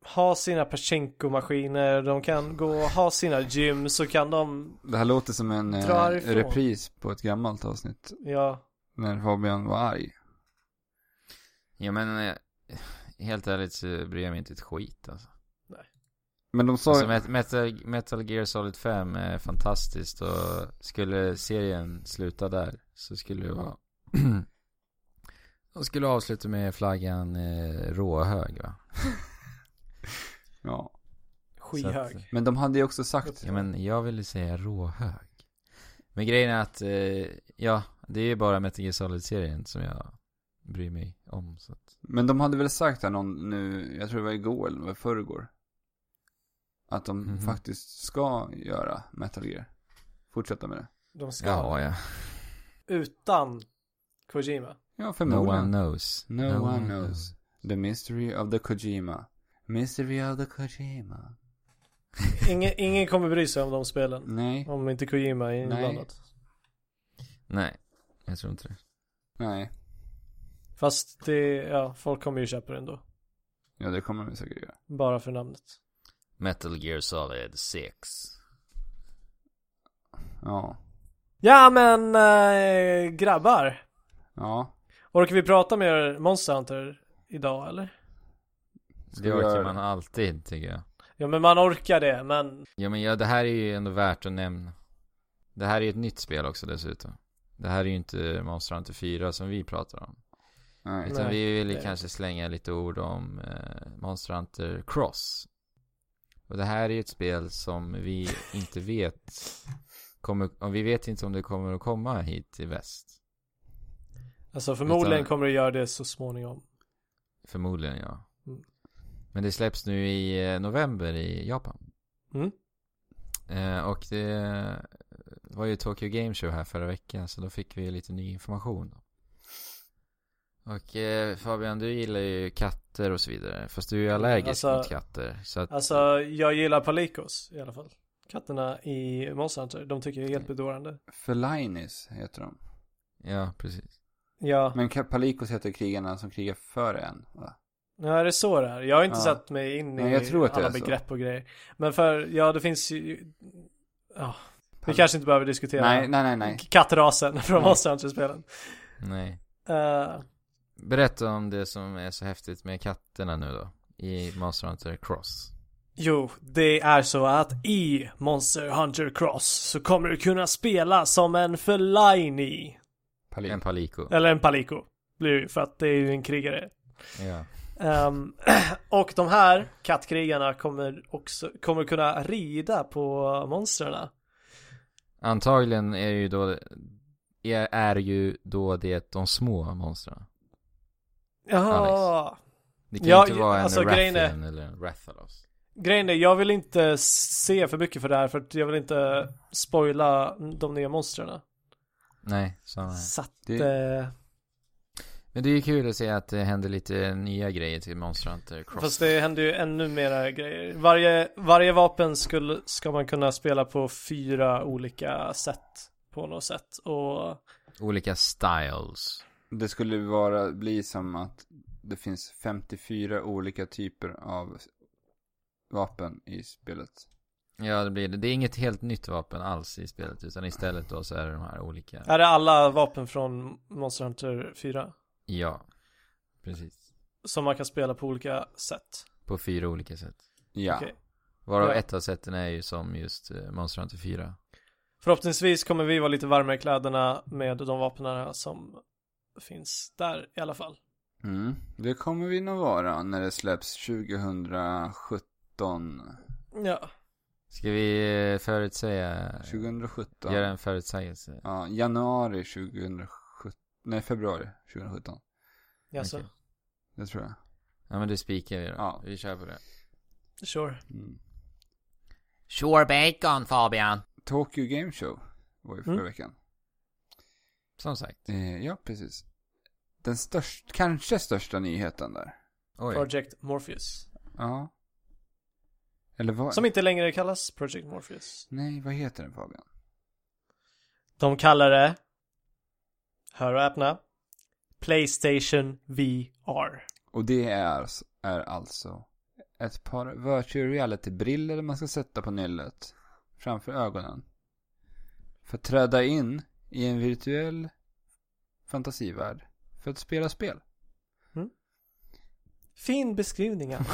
Speaker 3: ha sina Pachinko-maskiner, de kan gå och ha sina gym, så kan de,
Speaker 1: Det här låter som en eh,
Speaker 3: Drar ifrån.
Speaker 1: repris på ett gammalt avsnitt.
Speaker 3: ja,
Speaker 1: När Fabian var arg.
Speaker 2: Ja, men eh, helt ärligt så bryr jag mig inte ett skit alltså.
Speaker 1: Men de sa
Speaker 2: Alltså, Met- Metal, Metal Gear Solid 5 är fantastiskt och skulle serien sluta där så skulle det vara <clears throat> De skulle avsluta med flaggan eh, råhög va?
Speaker 1: Ja.
Speaker 3: skihög.
Speaker 2: Så att-
Speaker 1: Men de hade ju också sagt.
Speaker 2: Ja men jag ville säga råhög Men grejen är att, eh, ja, det är ju bara Metal Gear Solid-serien som jag bryr mig om så att,
Speaker 1: Men de hade väl sagt här någon nu, jag tror det var igår eller det var förrgår. Att de
Speaker 2: Mhm.
Speaker 1: faktiskt ska göra Metal Gear. Fortsätta med det.
Speaker 3: De ska,
Speaker 2: ja ja
Speaker 3: utan Kojima.
Speaker 1: Ja,
Speaker 2: No one
Speaker 1: förmodligen.
Speaker 2: knows
Speaker 1: No one knows. The mystery of the Kojima. Mystery of the Kojima.
Speaker 3: Ingen, ingen kommer bry sig om de spelen,
Speaker 1: Nej,
Speaker 3: om inte Kojima är
Speaker 1: Nej.
Speaker 3: inblandad.
Speaker 2: <laughs> Nej, jag tror inte det
Speaker 1: nej.
Speaker 3: Fast det, ja, folk kommer ju köpa det ändå.
Speaker 1: Ja, det kommer vi säkert göra.
Speaker 3: Bara för namnet.
Speaker 2: Metal Gear Solid 6
Speaker 1: Ja.
Speaker 3: Ja men, eh, grabbar.
Speaker 1: Ja.
Speaker 3: Orkar vi prata med er Monster Hunter idag eller?
Speaker 1: Ska
Speaker 2: Det
Speaker 1: vi
Speaker 2: orkar
Speaker 1: göra
Speaker 2: man alltid tycker jag
Speaker 3: Ja men man orkar det, men
Speaker 2: Ja men ja, det här är ju ändå värt att nämna Det här är ju ett nytt spel också dessutom Det här är ju inte Monster Hunter 4 som vi pratar om
Speaker 1: Nej.
Speaker 2: Utan
Speaker 3: Nej,
Speaker 2: vi vill ju
Speaker 3: det är det
Speaker 2: kanske slänga lite ord om eh, Monster Hunter Cross Och det här är ju ett spel som vi inte vet kommer, och vi vet inte om det kommer att komma hit till väst
Speaker 3: alltså förmodligen
Speaker 2: Utan-
Speaker 3: kommer du göra det så småningom.
Speaker 2: Förmodligen ja
Speaker 3: Mm.
Speaker 2: Men det släpps nu i eh, november i Japan
Speaker 3: Mm.
Speaker 2: Eh, och det var ju Tokyo Game Show här förra veckan så då fick vi lite ny information. Och eh, Fabian, du gillar ju katter och så vidare. Fast du är ju allergisk
Speaker 3: Alltså-
Speaker 2: mot katter. Så att,
Speaker 3: Alltså jag gillar palikos i alla fall. Katterna i Monster Hunter, de tycker jag är helt bedårande.
Speaker 1: Felinis heter de.
Speaker 2: ja precis.
Speaker 3: Ja,
Speaker 1: Men Palikos heter krigarna som krigar för en. Va?
Speaker 3: ja är det så det är? Jag har inte
Speaker 1: Ja.
Speaker 3: satt mig in i
Speaker 1: Nej, jag tror att det
Speaker 3: alla
Speaker 1: är så.
Speaker 3: begrepp och grejer. Men för, ja det finns ju, ja, Vi kanske inte behöver diskutera
Speaker 1: Nej, nej, nej, nej.
Speaker 3: kattrasen från
Speaker 1: Nej.
Speaker 3: Monster Hunter-spelen.
Speaker 2: Nej.
Speaker 3: Eh,
Speaker 2: Berätta om det som är så häftigt med katterna nu då. I Monster Hunter Cross.
Speaker 3: Jo, det är så att i Monster Hunter Cross så kommer du kunna spela som en Fellaini.
Speaker 1: Palin.
Speaker 2: En Palico.
Speaker 3: Eller en Palico. Blir det ju, för att det är ju en krigare.
Speaker 2: Ja.
Speaker 3: Ehm, <clears throat> och de här kattkrigarna kommer också kommer kunna rida på monstren.
Speaker 2: Antagligen är ju då är, är ju då det de små monstren.
Speaker 3: Jaha.
Speaker 2: Alex. Det kan
Speaker 3: Ja,
Speaker 2: ju inte vara en
Speaker 3: alltså, grejen
Speaker 2: Rathian
Speaker 3: är-
Speaker 2: eller en Rathalos.
Speaker 3: Grejen är, jag vill inte se för mycket för det här för att jag vill inte spoila de nya monstren.
Speaker 2: Nej, samma här.
Speaker 3: Så att,
Speaker 1: Det-
Speaker 3: eh,
Speaker 2: Men det är ju kul att se att det händer lite nya grejer till Monster Hunter Cross.
Speaker 3: Fast det händer ju ännu mera grejer. Varje, varje vapen skulle, ska man kunna spela på fyra olika sätt. På något sätt. Och
Speaker 2: Olika styles.
Speaker 1: Det skulle vara, bli som att det finns 54 olika typer av vapen i spelet.
Speaker 2: Ja, det blir det. Det är inget helt nytt vapen alls i spelet, utan istället då så är det de här olika.
Speaker 3: är det alla vapen från Monster Hunter 4?
Speaker 2: Ja, precis.
Speaker 3: Som man kan spela på olika sätt.
Speaker 2: På fyra olika sätt.
Speaker 1: Ja.
Speaker 3: Okej.
Speaker 2: Varav
Speaker 3: Ja.
Speaker 2: ett av sätten är ju som just eh, Monster Hunter 4.
Speaker 3: Förhoppningsvis kommer vi vara lite varmare i kläderna med de vapnen som finns där i alla fall.
Speaker 1: Mm. Det kommer vi nog vara när det släpps 2017.
Speaker 3: Ja.
Speaker 2: Ska vi eh, förutsäga?
Speaker 1: 2017.
Speaker 2: Göra en förutsägelse?
Speaker 1: Ja, januari 2017. Nej, februari 2017.
Speaker 3: Jaså?
Speaker 2: Okej.
Speaker 1: Det tror jag.
Speaker 2: Ja men det spikar vi då.
Speaker 1: Ja.
Speaker 2: Vi kör på det.
Speaker 3: Sure.
Speaker 1: Mm.
Speaker 2: Sure bacon Fabian.
Speaker 1: Tokyo Game Show var ju förra
Speaker 3: Mm.
Speaker 1: veckan.
Speaker 2: Som sagt.
Speaker 1: Eh, ja, precis. Den störst, kanske största nyheten där.
Speaker 2: Oj.
Speaker 3: Project Morpheus.
Speaker 1: Ja. Eller vad?
Speaker 3: Som inte längre kallas Project Morpheus.
Speaker 1: Nej, vad heter den Fabian?
Speaker 3: De kallar det, hör och öppna, Playstation VR.
Speaker 1: Och det är, s- är alltså ett par virtual reality-briller man ska sätta på nyllet framför ögonen. För att träda in i en virtuell fantasivärld för att spela spel.
Speaker 3: Fin beskrivning Alex.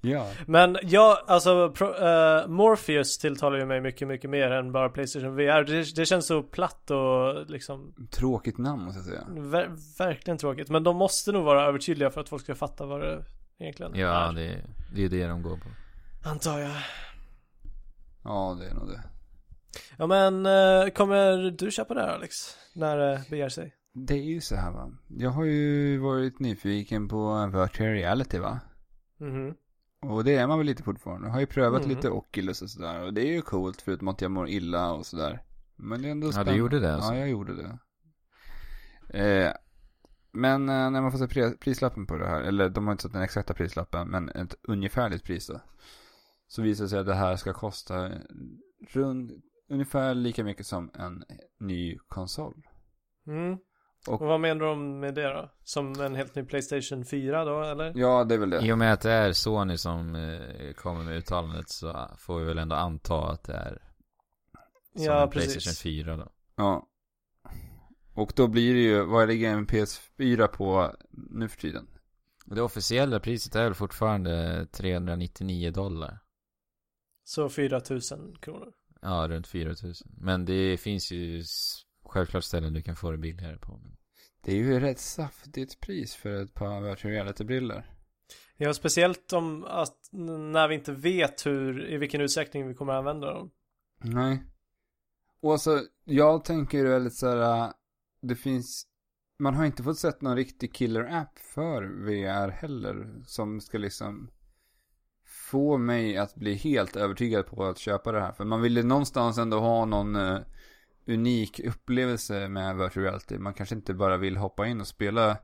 Speaker 1: Ja.
Speaker 3: <laughs> Men jag, alltså pro, eh, Morpheus tilltalar ju mig mycket, mycket mer än bara Playstation VR. Det, det känns så platt och liksom
Speaker 1: Tråkigt namn måste jag säga.
Speaker 3: ver, verkligen tråkigt. Men de måste nog vara övertydliga för att folk ska fatta vad det egentligen
Speaker 2: Ja
Speaker 3: är.
Speaker 2: det är, det är ju det de går på.
Speaker 3: Antar jag.
Speaker 1: Ja, det är nog det.
Speaker 3: Ja men, eh, kommer du köpa det här Alex? När det beger sig?
Speaker 1: Det är ju så här va. Jag har ju varit nyfiken på en virtual reality va.
Speaker 3: Mhm.
Speaker 1: Och det är man väl lite fortfarande. Jag har ju prövat
Speaker 3: Mm.
Speaker 1: lite Oculus och sådär. Och det är ju coolt förutom att jag mår illa och sådär. Men det är ändå
Speaker 2: Ja
Speaker 1: spännande.
Speaker 2: du gjorde det alltså.
Speaker 1: Ja, jag gjorde det. Eh, men eh, när man får se pre- prislappen på det här, eller de har inte satt den exakta prislappen, men ett ungefärligt pris då. Så visar det sig att det här ska kosta runt, ungefär lika mycket som en ny konsol.
Speaker 3: Mm.
Speaker 1: Och-
Speaker 3: Och, vad menar de med det då? Som en helt ny Playstation 4 då eller?
Speaker 1: Ja, det är väl det.
Speaker 2: I och med att det är Sony som eh, kommer med uttalandet så får vi väl ändå anta att det är som
Speaker 3: Ja,
Speaker 2: en
Speaker 3: precis.
Speaker 2: Playstation 4 då.
Speaker 1: Ja. Och då blir det ju, vad ligger en PS4 på nu för tiden?
Speaker 2: Och Det officiella priset är väl fortfarande 399 dollar.
Speaker 3: Så 4000 kronor.
Speaker 2: Ja, runt 4000. Men det finns ju s- självklart ställen du kan få det billigare på. Men...
Speaker 1: Det är ju ett rätt saftigt pris för ett par virtual reality-briller.
Speaker 3: Ja, speciellt om att n- när vi inte vet hur, i vilken utsträckning vi kommer att använda dem.
Speaker 1: Nej. Och alltså, jag tänker väldigt så här, äh, det finns, man har inte fått sett någon riktig killer-app för VR heller, som ska liksom få mig att bli helt övertygad på att köpa det här. För man vill ju någonstans ändå ha någon eh, unik upplevelse med virtual reality. Man kanske inte bara vill hoppa in och spela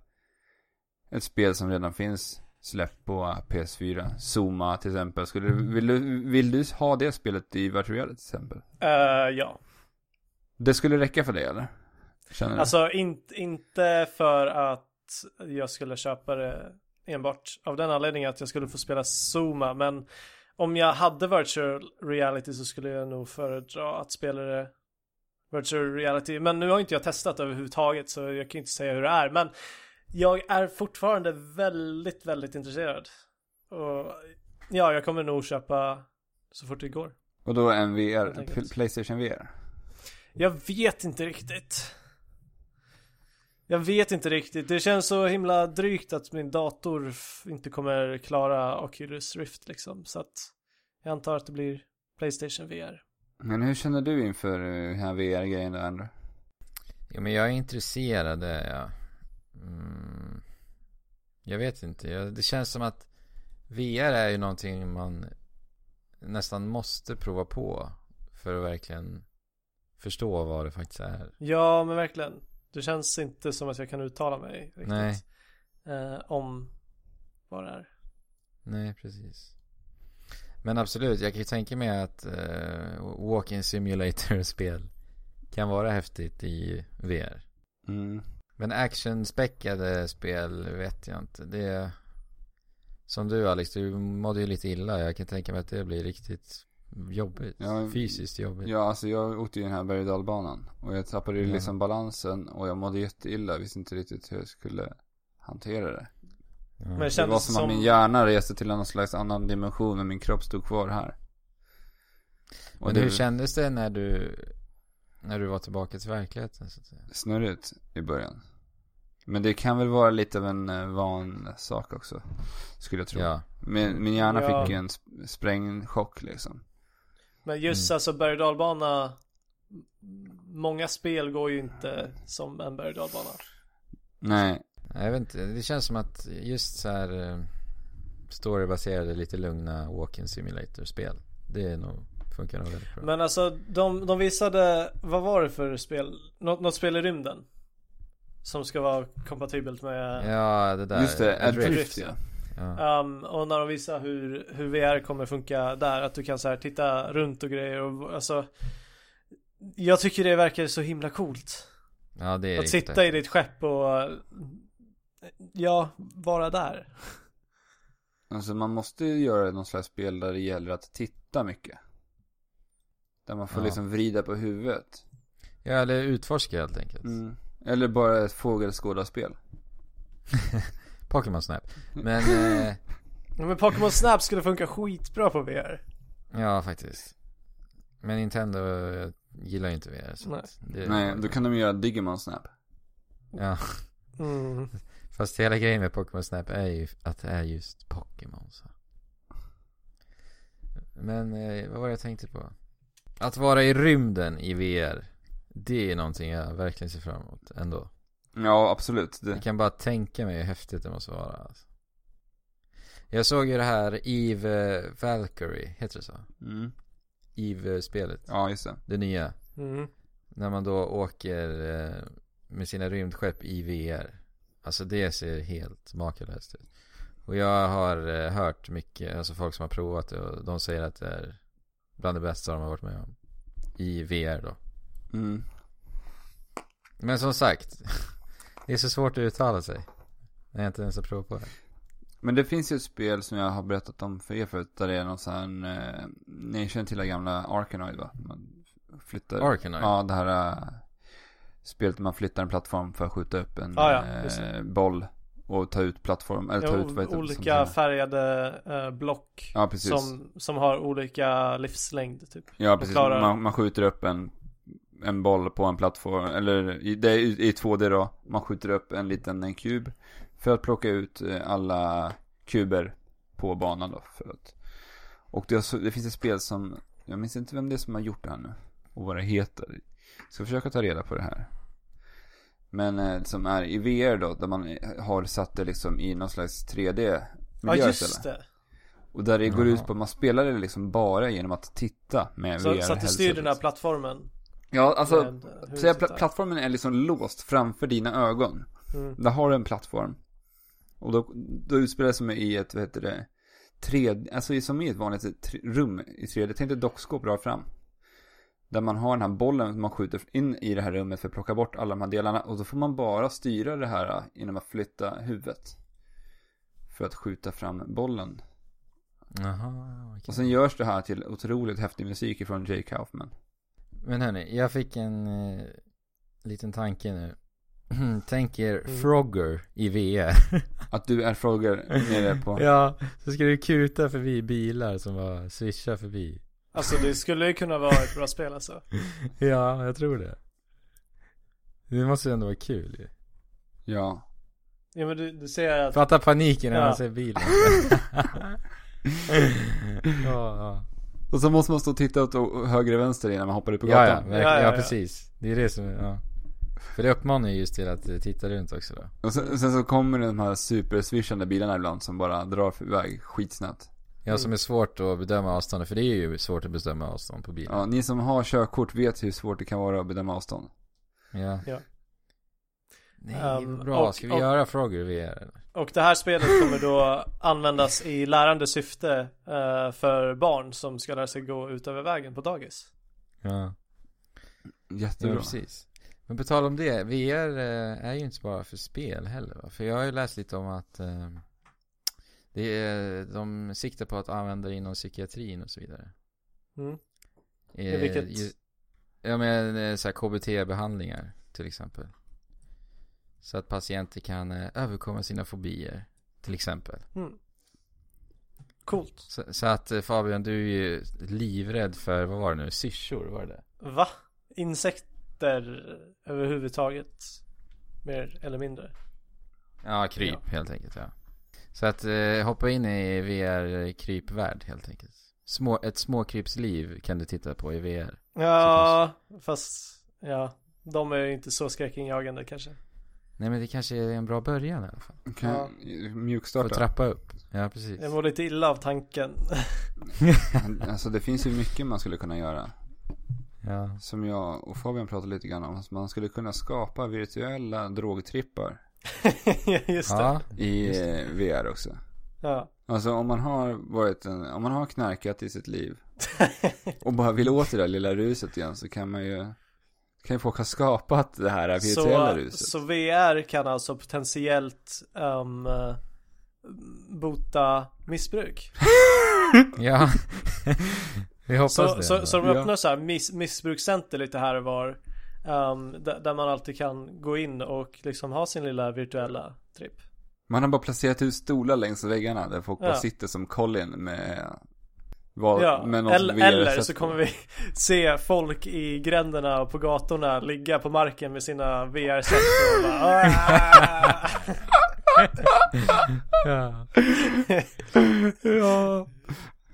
Speaker 1: ett spel som redan finns släppt på PS4. Zoma till exempel. Skulle, du- vill, du, vill du ha det spelet i virtual reality till exempel?
Speaker 3: Eh, ja,
Speaker 1: Det skulle räcka för dig eller? Känner du?
Speaker 3: alltså in, inte för att jag skulle köpa det enbart av den anledningen att jag skulle få spela Zuma, men om jag hade virtual reality så skulle jag nog föredra att spela det virtual reality. Men nu har inte jag testat överhuvudtaget så jag kan inte säga hur det är. Men jag är fortfarande väldigt, väldigt intresserad. Och ja, jag kommer nog köpa så fort det går.
Speaker 1: Och då en VR,
Speaker 3: tänker
Speaker 1: P-
Speaker 3: också.
Speaker 1: Playstation VR.
Speaker 3: Jag vet inte riktigt. Jag vet inte riktigt. Det känns så himla drygt att min dator f- inte kommer klara Oculus Rift liksom. Så att jag antar att det blir Playstation VR.
Speaker 1: Men hur känner du inför eh, den här VR-grejen då, Andrew?
Speaker 2: Ja, men jag är intresserad, det är jag. Mm. Jag vet inte. Jag, det känns som att VR är ju någonting man nästan måste prova på för att verkligen förstå vad det faktiskt är.
Speaker 3: Ja, men verkligen. Det känns inte som att jag kan uttala mig riktigt.
Speaker 2: Nej.
Speaker 3: Eh, om vad det är.
Speaker 2: Nej, precis. Men absolut, jag kan ju tänka mig att eh, Walking Simulator-spel kan vara häftigt i VR.
Speaker 1: Mm.
Speaker 2: Men actionspäckade spel vet jag inte. Det är... Som du Alex, du mådde ju lite illa. Jag kan tänka mig att det blir riktigt jobbigt.
Speaker 1: Ja,
Speaker 2: Fysiskt jobbigt.
Speaker 1: Ja, alltså jag åkte ju den här berg och dalbanan. Och jag tappade ju
Speaker 2: Ja.
Speaker 1: liksom balansen och jag mådde jätteilla. Visste inte riktigt hur jag skulle hantera det.
Speaker 2: Ja.
Speaker 3: Men det
Speaker 1: Det var
Speaker 3: kändes
Speaker 1: som,
Speaker 3: som...
Speaker 1: att min hjärna reste till någon slags annan dimension men min kropp stod kvar här. Och
Speaker 2: Men
Speaker 1: det
Speaker 2: hur
Speaker 1: hur
Speaker 2: kändes det när du, när du var tillbaka till verkligheten? Så att säga?
Speaker 1: snurrigt i början. Men det kan väl vara lite av en eh, van sak också. Skulle jag tro.
Speaker 2: Ja.
Speaker 1: Min, min hjärna
Speaker 3: Ja.
Speaker 1: fick ju en sp- sprängchock liksom.
Speaker 3: Men just
Speaker 2: Mm.
Speaker 3: alltså berg och dalbana. m- Många spel går ju inte som en berg och dalbana.
Speaker 1: Nej,
Speaker 2: Nej, Jag vet inte, det känns som att just så här eh, storybaserade lite lugna walking simulator-spel. Det är nog, funkar nog väldigt bra.
Speaker 3: Men alltså de, de visade, vad var det för spel? Något, något spel i rymden? Som ska vara kompatibelt med
Speaker 2: ja, det där. eh,
Speaker 1: just det.
Speaker 2: Adrift.
Speaker 1: Adrift,
Speaker 3: Adrift,
Speaker 1: ja.
Speaker 2: Ja.
Speaker 3: Ehm, och när de visar hur, hur VR kommer funka där, att du kan så här titta runt och grejer och alltså Jag tycker det verkar så himla coolt
Speaker 2: ja, det är
Speaker 3: Att
Speaker 2: riktigt
Speaker 3: sitta i ditt skepp och eh, Ja, vara där
Speaker 1: Alltså man måste ju göra någon slags spel där det gäller att titta mycket. Där man får
Speaker 2: Ja.
Speaker 1: liksom vrida på huvudet.
Speaker 2: Ja, eller utforska helt enkelt.
Speaker 1: Mm. Eller bara ett fågelskådarspel.
Speaker 2: Pokémon Snap. Men, eh,
Speaker 3: Ja, Men Pokémon Snap skulle funka skitbra på VR
Speaker 2: ja faktiskt. Men Nintendo eh, gillar ju inte VR. Så
Speaker 3: Nej.
Speaker 2: att det,
Speaker 1: Nej, då kan de göra Digimon Snap.
Speaker 2: Ja,
Speaker 3: mm.
Speaker 2: fast hela grejen med Pokémon Snap är ju att det är just Pokémon. Så. Men, eh, vad var det jag tänkte på? Att vara i rymden i VR. Det är någonting jag verkligen ser fram emot ändå.
Speaker 1: Ja, absolut. Det,
Speaker 2: Jag kan bara tänka mig hur häftigt det måste vara. Alltså. Jag såg ju det här Eve eh, Valkyrie, heter det så?
Speaker 1: mm.
Speaker 2: Eve-spelet.
Speaker 1: Ja, just det.
Speaker 2: Det nya.
Speaker 3: Mm.
Speaker 2: När man då åker eh, med sina rymdskepp i VR. Alltså det ser helt makalöst ut. Och jag har eh, hört mycket, alltså folk som har provat det och de säger att det är bland det bästa de har varit med om. I VR då.
Speaker 1: Mm.
Speaker 2: Men som sagt, <laughs> det är så svårt att uttala sig. När jag inte ens har provat på det.
Speaker 1: Men det finns ju ett spel som jag har berättat om för er förut. Där det är någon sån här, eh, ni känner till det gamla Arkanoid va? Man flyttar.
Speaker 2: Arkanoid.
Speaker 1: Ja, det här eh, spelet där man flyttar en plattform för att skjuta upp en
Speaker 3: Ja, Ah, ja, just det.
Speaker 1: eh, boll. Och ta ut plattform, eller ta ut vad
Speaker 3: Ja,
Speaker 1: heter det?
Speaker 3: olika
Speaker 1: Sånt där.
Speaker 3: färgade eh, block
Speaker 1: Ja, precis.
Speaker 3: som, som har olika livslängd typ
Speaker 1: Ja, precis.
Speaker 3: klarar-
Speaker 1: Man, man skjuter upp en, en boll på en plattform, eller i, det är i 2D då. Man skjuter upp en liten en kub för att plocka ut eh, alla kuber på banan då. För att, och det, har så- det finns ett spel som, jag minns inte vem det är som har gjort det här nu och vad det heter. Ska försöka ta reda på det här. Men eh, som är i VR då, där man eh, har satt det liksom i någon slags 3D-miljö
Speaker 3: Ja
Speaker 1: istället.
Speaker 3: just det
Speaker 1: Och där det går
Speaker 2: Jaha.
Speaker 1: ut på att man spelar det liksom bara genom att titta med
Speaker 3: Så,
Speaker 1: VR
Speaker 3: så att du styr den här plattformen.
Speaker 1: Ja, alltså,
Speaker 3: med eh, huset
Speaker 1: så här, pla-
Speaker 3: där.
Speaker 1: plattformen är liksom låst framför dina ögon.
Speaker 3: Mm.
Speaker 1: Där har du en plattform. Och då, då utspelar det sig i ett, vad heter det, tre, alltså i- som i ett vanligt tre- rum i 3D. Tänk dig ett dockskåp rakt fram. Där man har den här bollen som man skjuter in i det här rummet för att plocka bort alla de här delarna. Och då får man bara styra det här äh, eh, genom att flytta huvudet. För att skjuta fram bollen.
Speaker 2: Jaha, okej.
Speaker 1: Och sen görs det här till otroligt häftig musik ifrån Jay Kaufman.
Speaker 2: Men hörni, jag fick en eh, liten tanke nu. <clears throat> Tänk er
Speaker 3: Mm.
Speaker 2: Frogger i VR. <laughs>
Speaker 1: Att du är Frogger nere på...
Speaker 2: ja, så skulle du kuta förbi bilar som bara swishar förbi.
Speaker 3: Alltså det skulle ju kunna vara ett bra spel alltså.
Speaker 2: Ja, jag tror det. Det måste ju ändå vara kul ju.
Speaker 1: ja.
Speaker 3: Ja men du, du ser att
Speaker 2: Fatta paniken när
Speaker 3: Ja.
Speaker 2: man ser bilen. ja, ja.
Speaker 1: Och så måste man stå och titta åt o- höger och vänster innan man hoppar upp på
Speaker 2: Ja, ja,
Speaker 1: gatan.
Speaker 2: verkligen.
Speaker 3: Ja, ja,
Speaker 2: ja,
Speaker 3: ja.
Speaker 2: precis. Det är det som, ja. För det uppmanar ju just till att eh, titta runt också då.
Speaker 1: Och sen, sen så kommer de här superswishande bilarna ibland som bara drar iväg skitsnabbt.
Speaker 2: Ja, som är svårt att bedöma avstånd, för det är ju svårt att bestämma avstånd på bilen.
Speaker 1: Ja, ni som har körkort vet hur svårt det kan vara att bedöma avstånd.
Speaker 2: Ja.
Speaker 3: Ja.
Speaker 2: Nej,
Speaker 3: Ehm,
Speaker 2: vad bra.
Speaker 3: och-
Speaker 2: Ska vi
Speaker 3: och-
Speaker 2: göra frågor VR? eller?
Speaker 3: Och det här spelet kommer då användas i lärande syfte eh, för barn som ska lära sig gå ut över vägen på dagis.
Speaker 2: Ja, ja
Speaker 1: Jättebra.
Speaker 2: precis. Men på tal om det, VR eh, är ju inte bara för spel heller va? För jag har ju läst lite om att eh, det är, de siktar på att använda det inom psykiatrin och så vidare.
Speaker 3: Mm.
Speaker 2: Eh,
Speaker 3: vilket-
Speaker 2: ju- Ja men eh, så här KBT-behandlingar till exempel. Så att patienter kan eh, överkomma sina fobier till exempel.
Speaker 3: Mm. Coolt.
Speaker 2: Så, så att eh, Fabian, du är ju livrädd för, vad var det nu, syrsor var det det?
Speaker 3: Va? Insekter överhuvudtaget? Mer eller mindre.
Speaker 2: Ja, kryp helt enkelt ja. Så att eh, hoppa in i VR-krypvärld helt enkelt. Små, ett småkrypsliv kan du titta på i VR.
Speaker 3: Ja, fast ja, de är ju inte så skräckinjagande kanske.
Speaker 2: Nej men det kanske är en bra början i alla fall.
Speaker 1: Kan
Speaker 3: Ja.
Speaker 2: För
Speaker 1: mjukstarta.
Speaker 2: trappa upp. Ja precis.
Speaker 3: Jag mår lite illa av tanken. <laughs>
Speaker 1: <laughs> Alltså det finns ju mycket man skulle kunna göra.
Speaker 2: Ja.
Speaker 1: Som jag och Fabian pratade lite grann om. Att man skulle kunna skapa virtuella drogtrippar
Speaker 3: Ja, Just det.
Speaker 2: ja.
Speaker 1: i eh, VR också.
Speaker 3: Ja.
Speaker 1: Alltså om man har varit en, om man har knarkat i sitt
Speaker 3: <laughs>
Speaker 1: liv. Och bara vill åt det där lilla ruset igen så kan man ju. Kan ju folk ha skapat det här virtuella
Speaker 3: Så,
Speaker 1: ruset.
Speaker 3: så VR kan alltså potentiellt ehm, eh, bota missbruk?
Speaker 2: Ja. <laughs> Vi hoppas
Speaker 3: Så,
Speaker 2: det.
Speaker 3: så, så de
Speaker 1: Ja.
Speaker 3: öppnar så här miss, missbrukscenter lite här och var. ehm, där, där man alltid kan gå in och liksom ha sin lilla virtuella tripp.
Speaker 1: Man har bara placerat ut stolar längs väggarna där folk bara
Speaker 3: Ja.
Speaker 1: sitter som Colin med. Vad,
Speaker 3: Ja,
Speaker 1: med något Alltså,
Speaker 3: eller,
Speaker 1: VR
Speaker 3: eller
Speaker 1: sätt
Speaker 3: så
Speaker 1: på.
Speaker 3: kommer vi <laughs> se folk i gränderna och på gatorna ligga på marken med sina VR-set och bara "Ah!"
Speaker 2: <laughs> Ja.
Speaker 1: ja.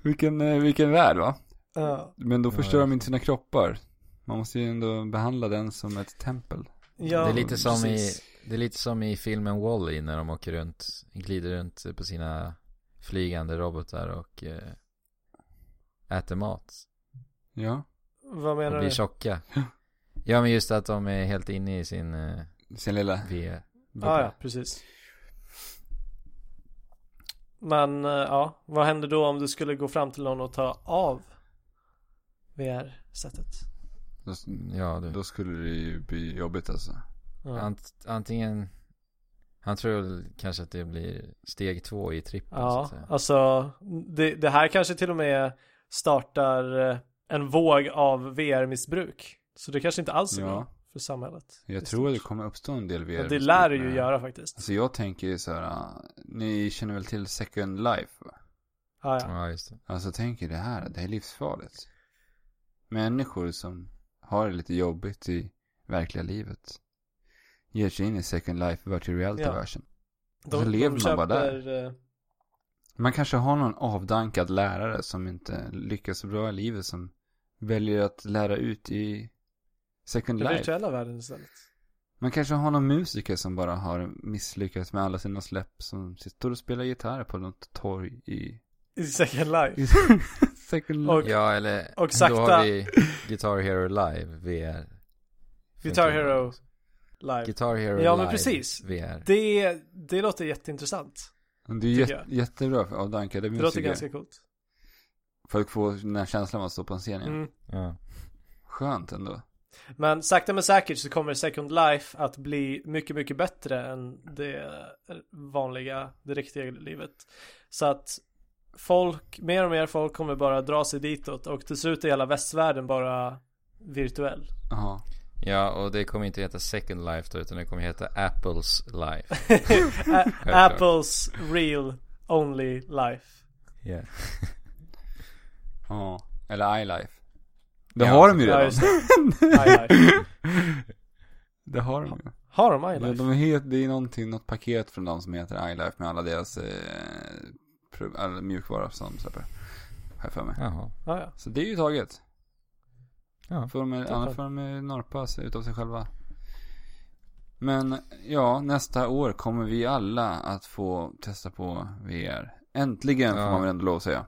Speaker 1: Vilken, eh, vilken värld va?
Speaker 3: Ja.
Speaker 1: Men då
Speaker 2: Ja,
Speaker 1: förstör de inte sina kroppar. Man måste ju ändå behandla den som ett tempel.
Speaker 3: Ja,
Speaker 2: det, är lite som i,
Speaker 3: precis.
Speaker 2: det är lite som i filmen Wall-E när de åker runt, glider runt på sina flygande robotar och eh, äter mat
Speaker 1: Ja.
Speaker 3: Vad
Speaker 2: och
Speaker 3: menar
Speaker 2: blir
Speaker 3: du? Ah,
Speaker 2: tjocka. Ja men just att de är helt inne i sin eh,
Speaker 1: Sin lilla
Speaker 2: VR.
Speaker 3: Ja, ja, precis. Men eh, ja, vad händer då om du skulle gå fram till någon och ta av VR-sättet?
Speaker 1: Då,
Speaker 2: Ja du.
Speaker 1: då skulle det ju bli jobbigt alltså.
Speaker 3: Ja.
Speaker 2: Ant, antingen, han tror väl kanske att det blir steg två i trippen så
Speaker 3: Ja,
Speaker 2: att säga.
Speaker 3: alltså det, det här kanske till och med startar eh, en våg av VR-missbruk. Så det kanske inte alls är
Speaker 1: Ja.
Speaker 3: bra för samhället.
Speaker 1: Jag tror att det kommer uppstå en del VR.
Speaker 3: Men det lär det ju göra faktiskt.
Speaker 1: Alltså jag tänker ju så här, äh, ni känner väl till Second Life? va?
Speaker 3: Ja, ja.
Speaker 2: Ja just det.
Speaker 1: Alltså tänk er det här, det här är livsfarligt. Människor som har det lite jobbigt i verkliga livet ger sig in i Second Life Virtual Reality-världen.
Speaker 3: De,
Speaker 1: så lever man bara där.
Speaker 3: köper, eh,
Speaker 1: Man kanske har någon avdankad lärare som inte lyckas så bra i livet som väljer att lära ut i Second
Speaker 3: Den
Speaker 1: Life.
Speaker 3: virtuella världen istället.
Speaker 1: Man kanske har någon musiker som bara har misslyckats med alla sina släpp som sitter och spelar gitarr på något torg i <laughs>
Speaker 3: I Second Life.
Speaker 1: i Second Life.
Speaker 3: Och
Speaker 2: Ja eller,
Speaker 3: och
Speaker 2: då
Speaker 3: sakta-
Speaker 2: har vi Guitar Hero Live VR.
Speaker 3: Guitar Hero Live.
Speaker 2: Guitar Hero
Speaker 3: Ja,
Speaker 2: Live
Speaker 3: men precis.
Speaker 2: VR.
Speaker 3: Det, det låter jätteintressant.
Speaker 1: det är ju
Speaker 3: tycker
Speaker 1: jätte, jättebra för avdankade
Speaker 3: Det låter
Speaker 1: musiker.
Speaker 3: ganska coolt.
Speaker 1: Folk får den här känslan av att stå på en scen igen.
Speaker 3: Mm.
Speaker 2: Ja.
Speaker 1: Skönt ändå.
Speaker 3: Men sakta men säkert så kommer Second Life att bli mycket, mycket bättre än det vanliga, det riktiga livet. Så att folk, mer och mer folk kommer bara dra sig ditåt och till slut är hela västvärlden bara virtuell. <laughs>
Speaker 1: Jaha.
Speaker 4: Ja, och det kommer inte heta Second Life då, utan det kommer heta Apples Life.
Speaker 3: A- Apples real only life.
Speaker 4: Yeah.
Speaker 1: Ja. Eller iLife. Det
Speaker 4: Ja,
Speaker 1: har de ju
Speaker 3: Ja,
Speaker 1: redan. <laughs>
Speaker 3: just det. iLife.
Speaker 1: Det har de ju.
Speaker 3: Har de
Speaker 1: De,
Speaker 3: iLife?
Speaker 1: de heter, det är någonting, något paket från dem som heter iLife med alla deras eh, pro- all mjukvara som de släpper. Här för mig.
Speaker 4: Jaha.
Speaker 3: Ah, Ja, ja.
Speaker 1: Så det är ju taget.
Speaker 4: Ja.
Speaker 1: Får de, annars får de eh, norpa sig utav sig själva. Men ja, nästa år kommer vi alla att få testa på VR. Äntligen får
Speaker 4: Ja.
Speaker 1: man väl ändå lov att säga.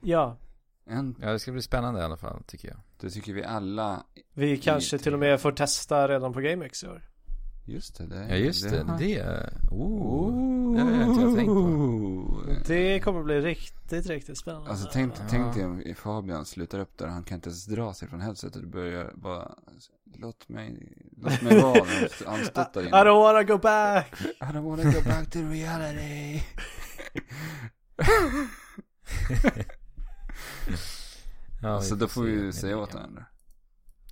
Speaker 3: ja.
Speaker 1: Änt,
Speaker 4: Ja, det ska bli spännande i alla fall, tycker jag.
Speaker 1: det tycker vi alla.
Speaker 3: Vi kanske till och med får testa redan på GameX i år.
Speaker 1: Just det. det
Speaker 4: Ja, just det.
Speaker 1: har-
Speaker 4: Det är... Oh.
Speaker 1: Ooh.
Speaker 4: Det har jag inte tänkt
Speaker 3: Det kommer bli riktigt, riktigt
Speaker 1: <laughs>
Speaker 3: spännande.
Speaker 1: Mm. Alltså tänk,
Speaker 4: Ja.
Speaker 1: tänk dig om Fabian slutar upp där, han kan inte ens dra sig från headsetet och börjar bara, låt mig, låt mig
Speaker 4: <laughs>
Speaker 1: vara, när han stöttar
Speaker 3: Ah, I
Speaker 1: in.
Speaker 3: don't wanna go back!
Speaker 1: I don't wanna go back to reality.
Speaker 4: <laughs> Ja,
Speaker 1: alltså då får vi ju
Speaker 4: se.
Speaker 1: säga åt honom.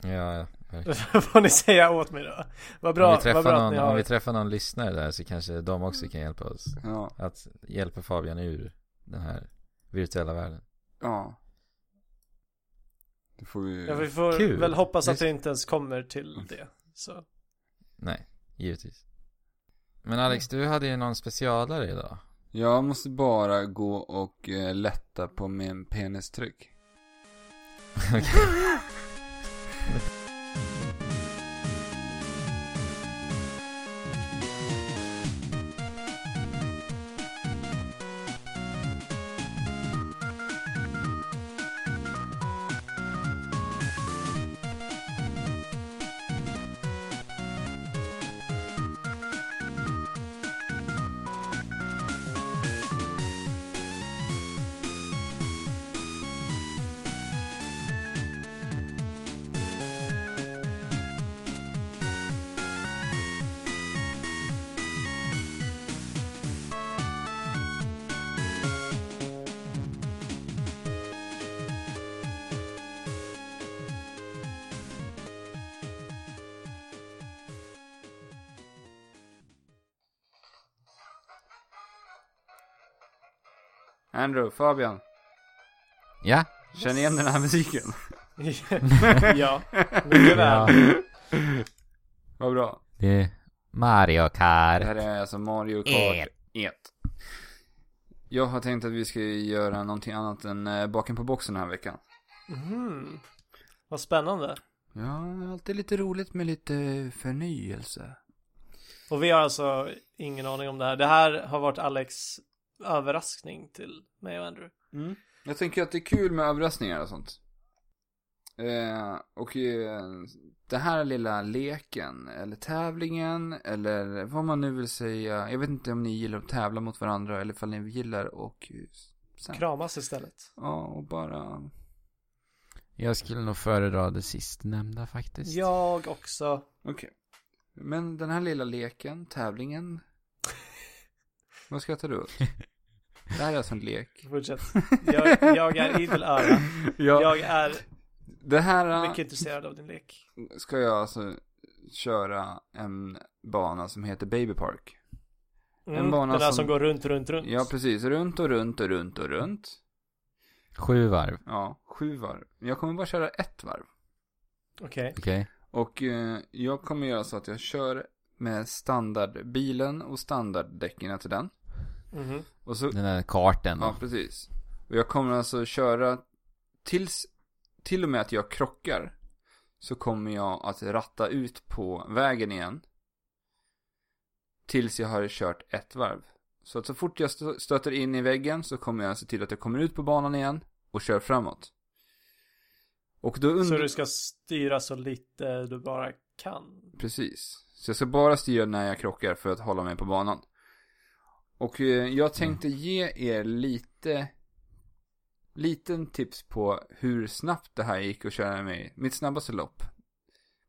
Speaker 4: Ja, ja. verkligen.
Speaker 3: <laughs> får ni säga åt mig då. Vad bra,
Speaker 4: om, vi
Speaker 3: vad bra
Speaker 4: träffar
Speaker 3: att ni
Speaker 4: någon,
Speaker 3: har.
Speaker 4: om vi träffar någon lyssnare där så kanske de också kan hjälpa oss.
Speaker 1: Ja,
Speaker 4: Att hjälpa Fabian ur den här virtuella världen.
Speaker 1: ja. Det får vi
Speaker 3: Ja, vi får
Speaker 4: Kul. Mm.
Speaker 3: väl hoppas att
Speaker 4: Just-
Speaker 3: det inte ens kommer till det.
Speaker 1: <laughs>
Speaker 3: Så.
Speaker 4: Nej, givetvis. Men Alex, du hade ju någon specialare idag.
Speaker 1: Jag måste bara gå och eh, lätta på min penistryck. Andrew, Fabian,
Speaker 4: Ja,
Speaker 1: känn igen den här musiken.
Speaker 3: ja, mycket väl.
Speaker 1: Vad bra.
Speaker 4: det är Mario
Speaker 1: Det här
Speaker 4: Kart.
Speaker 1: är alltså Mario Kart 1. Jag har tänkt att vi ska göra någonting annat än eh, baken på boxen den här veckan.
Speaker 3: Mhm. Vad spännande.
Speaker 1: Ja, alltid lite roligt med lite förnyelse.
Speaker 3: Och vi har alltså ingen aning om det här. Det här har varit Alex överraskning till mig och Andrew.
Speaker 1: Mm. Jag tänker att det är kul med överraskningar och sånt. Eh, och eh, den här lilla leken, eller tävlingen, eller vad man nu vill säga. Jag vet inte om ni gillar att tävla mot varandra eller ifall ni gillar och... Sen.
Speaker 3: Kramas istället.
Speaker 1: Ja, och bara...
Speaker 2: Jag skulle nog föredra det sistnämnda faktiskt.
Speaker 3: Jag också.
Speaker 1: Okej. Men den här lilla leken, tävlingen. Vad skrattar du
Speaker 3: <laughs>
Speaker 1: åt? Det här är alltså en lek.
Speaker 4: <laughs>
Speaker 3: Fortsätt. Jag, jag är idel öra.
Speaker 1: Ja,
Speaker 3: Jag är
Speaker 1: det här
Speaker 3: mycket intresserad av din lek.
Speaker 1: ska jag alltså köra en bana som heter Baby Park.
Speaker 3: Mm,
Speaker 1: En bana
Speaker 3: den här
Speaker 1: som-
Speaker 3: som går runt, runt, runt.
Speaker 1: Ja, precis. Runt och runt och runt och runt.
Speaker 2: Sju varv.
Speaker 1: Ja, sju varv. Jag kommer bara köra ett varv.
Speaker 3: Okej.
Speaker 2: Okej.
Speaker 1: Och eh, jag kommer göra så att jag kör med standardbilen och standarddäcken till den.
Speaker 3: Mhm.
Speaker 1: Och så
Speaker 2: Den där kartan då.
Speaker 1: Ja, precis. Och jag kommer alltså köra tills, till och med att jag krockar, så kommer jag att ratta ut på vägen igen. Tills jag har kört ett varv. Så att så fort jag stö- stöter in i väggen så kommer jag se till att jag kommer ut på banan igen och kör framåt. Och då
Speaker 3: Så
Speaker 1: undrar...
Speaker 3: du ska styra så lite du bara kan.
Speaker 1: Precis. Så jag ska bara styra när jag krockar för att hålla mig på banan. Och eh, jag tänkte ge er lite liten tips på hur snabbt det här gick att köra mig, mitt snabbaste lopp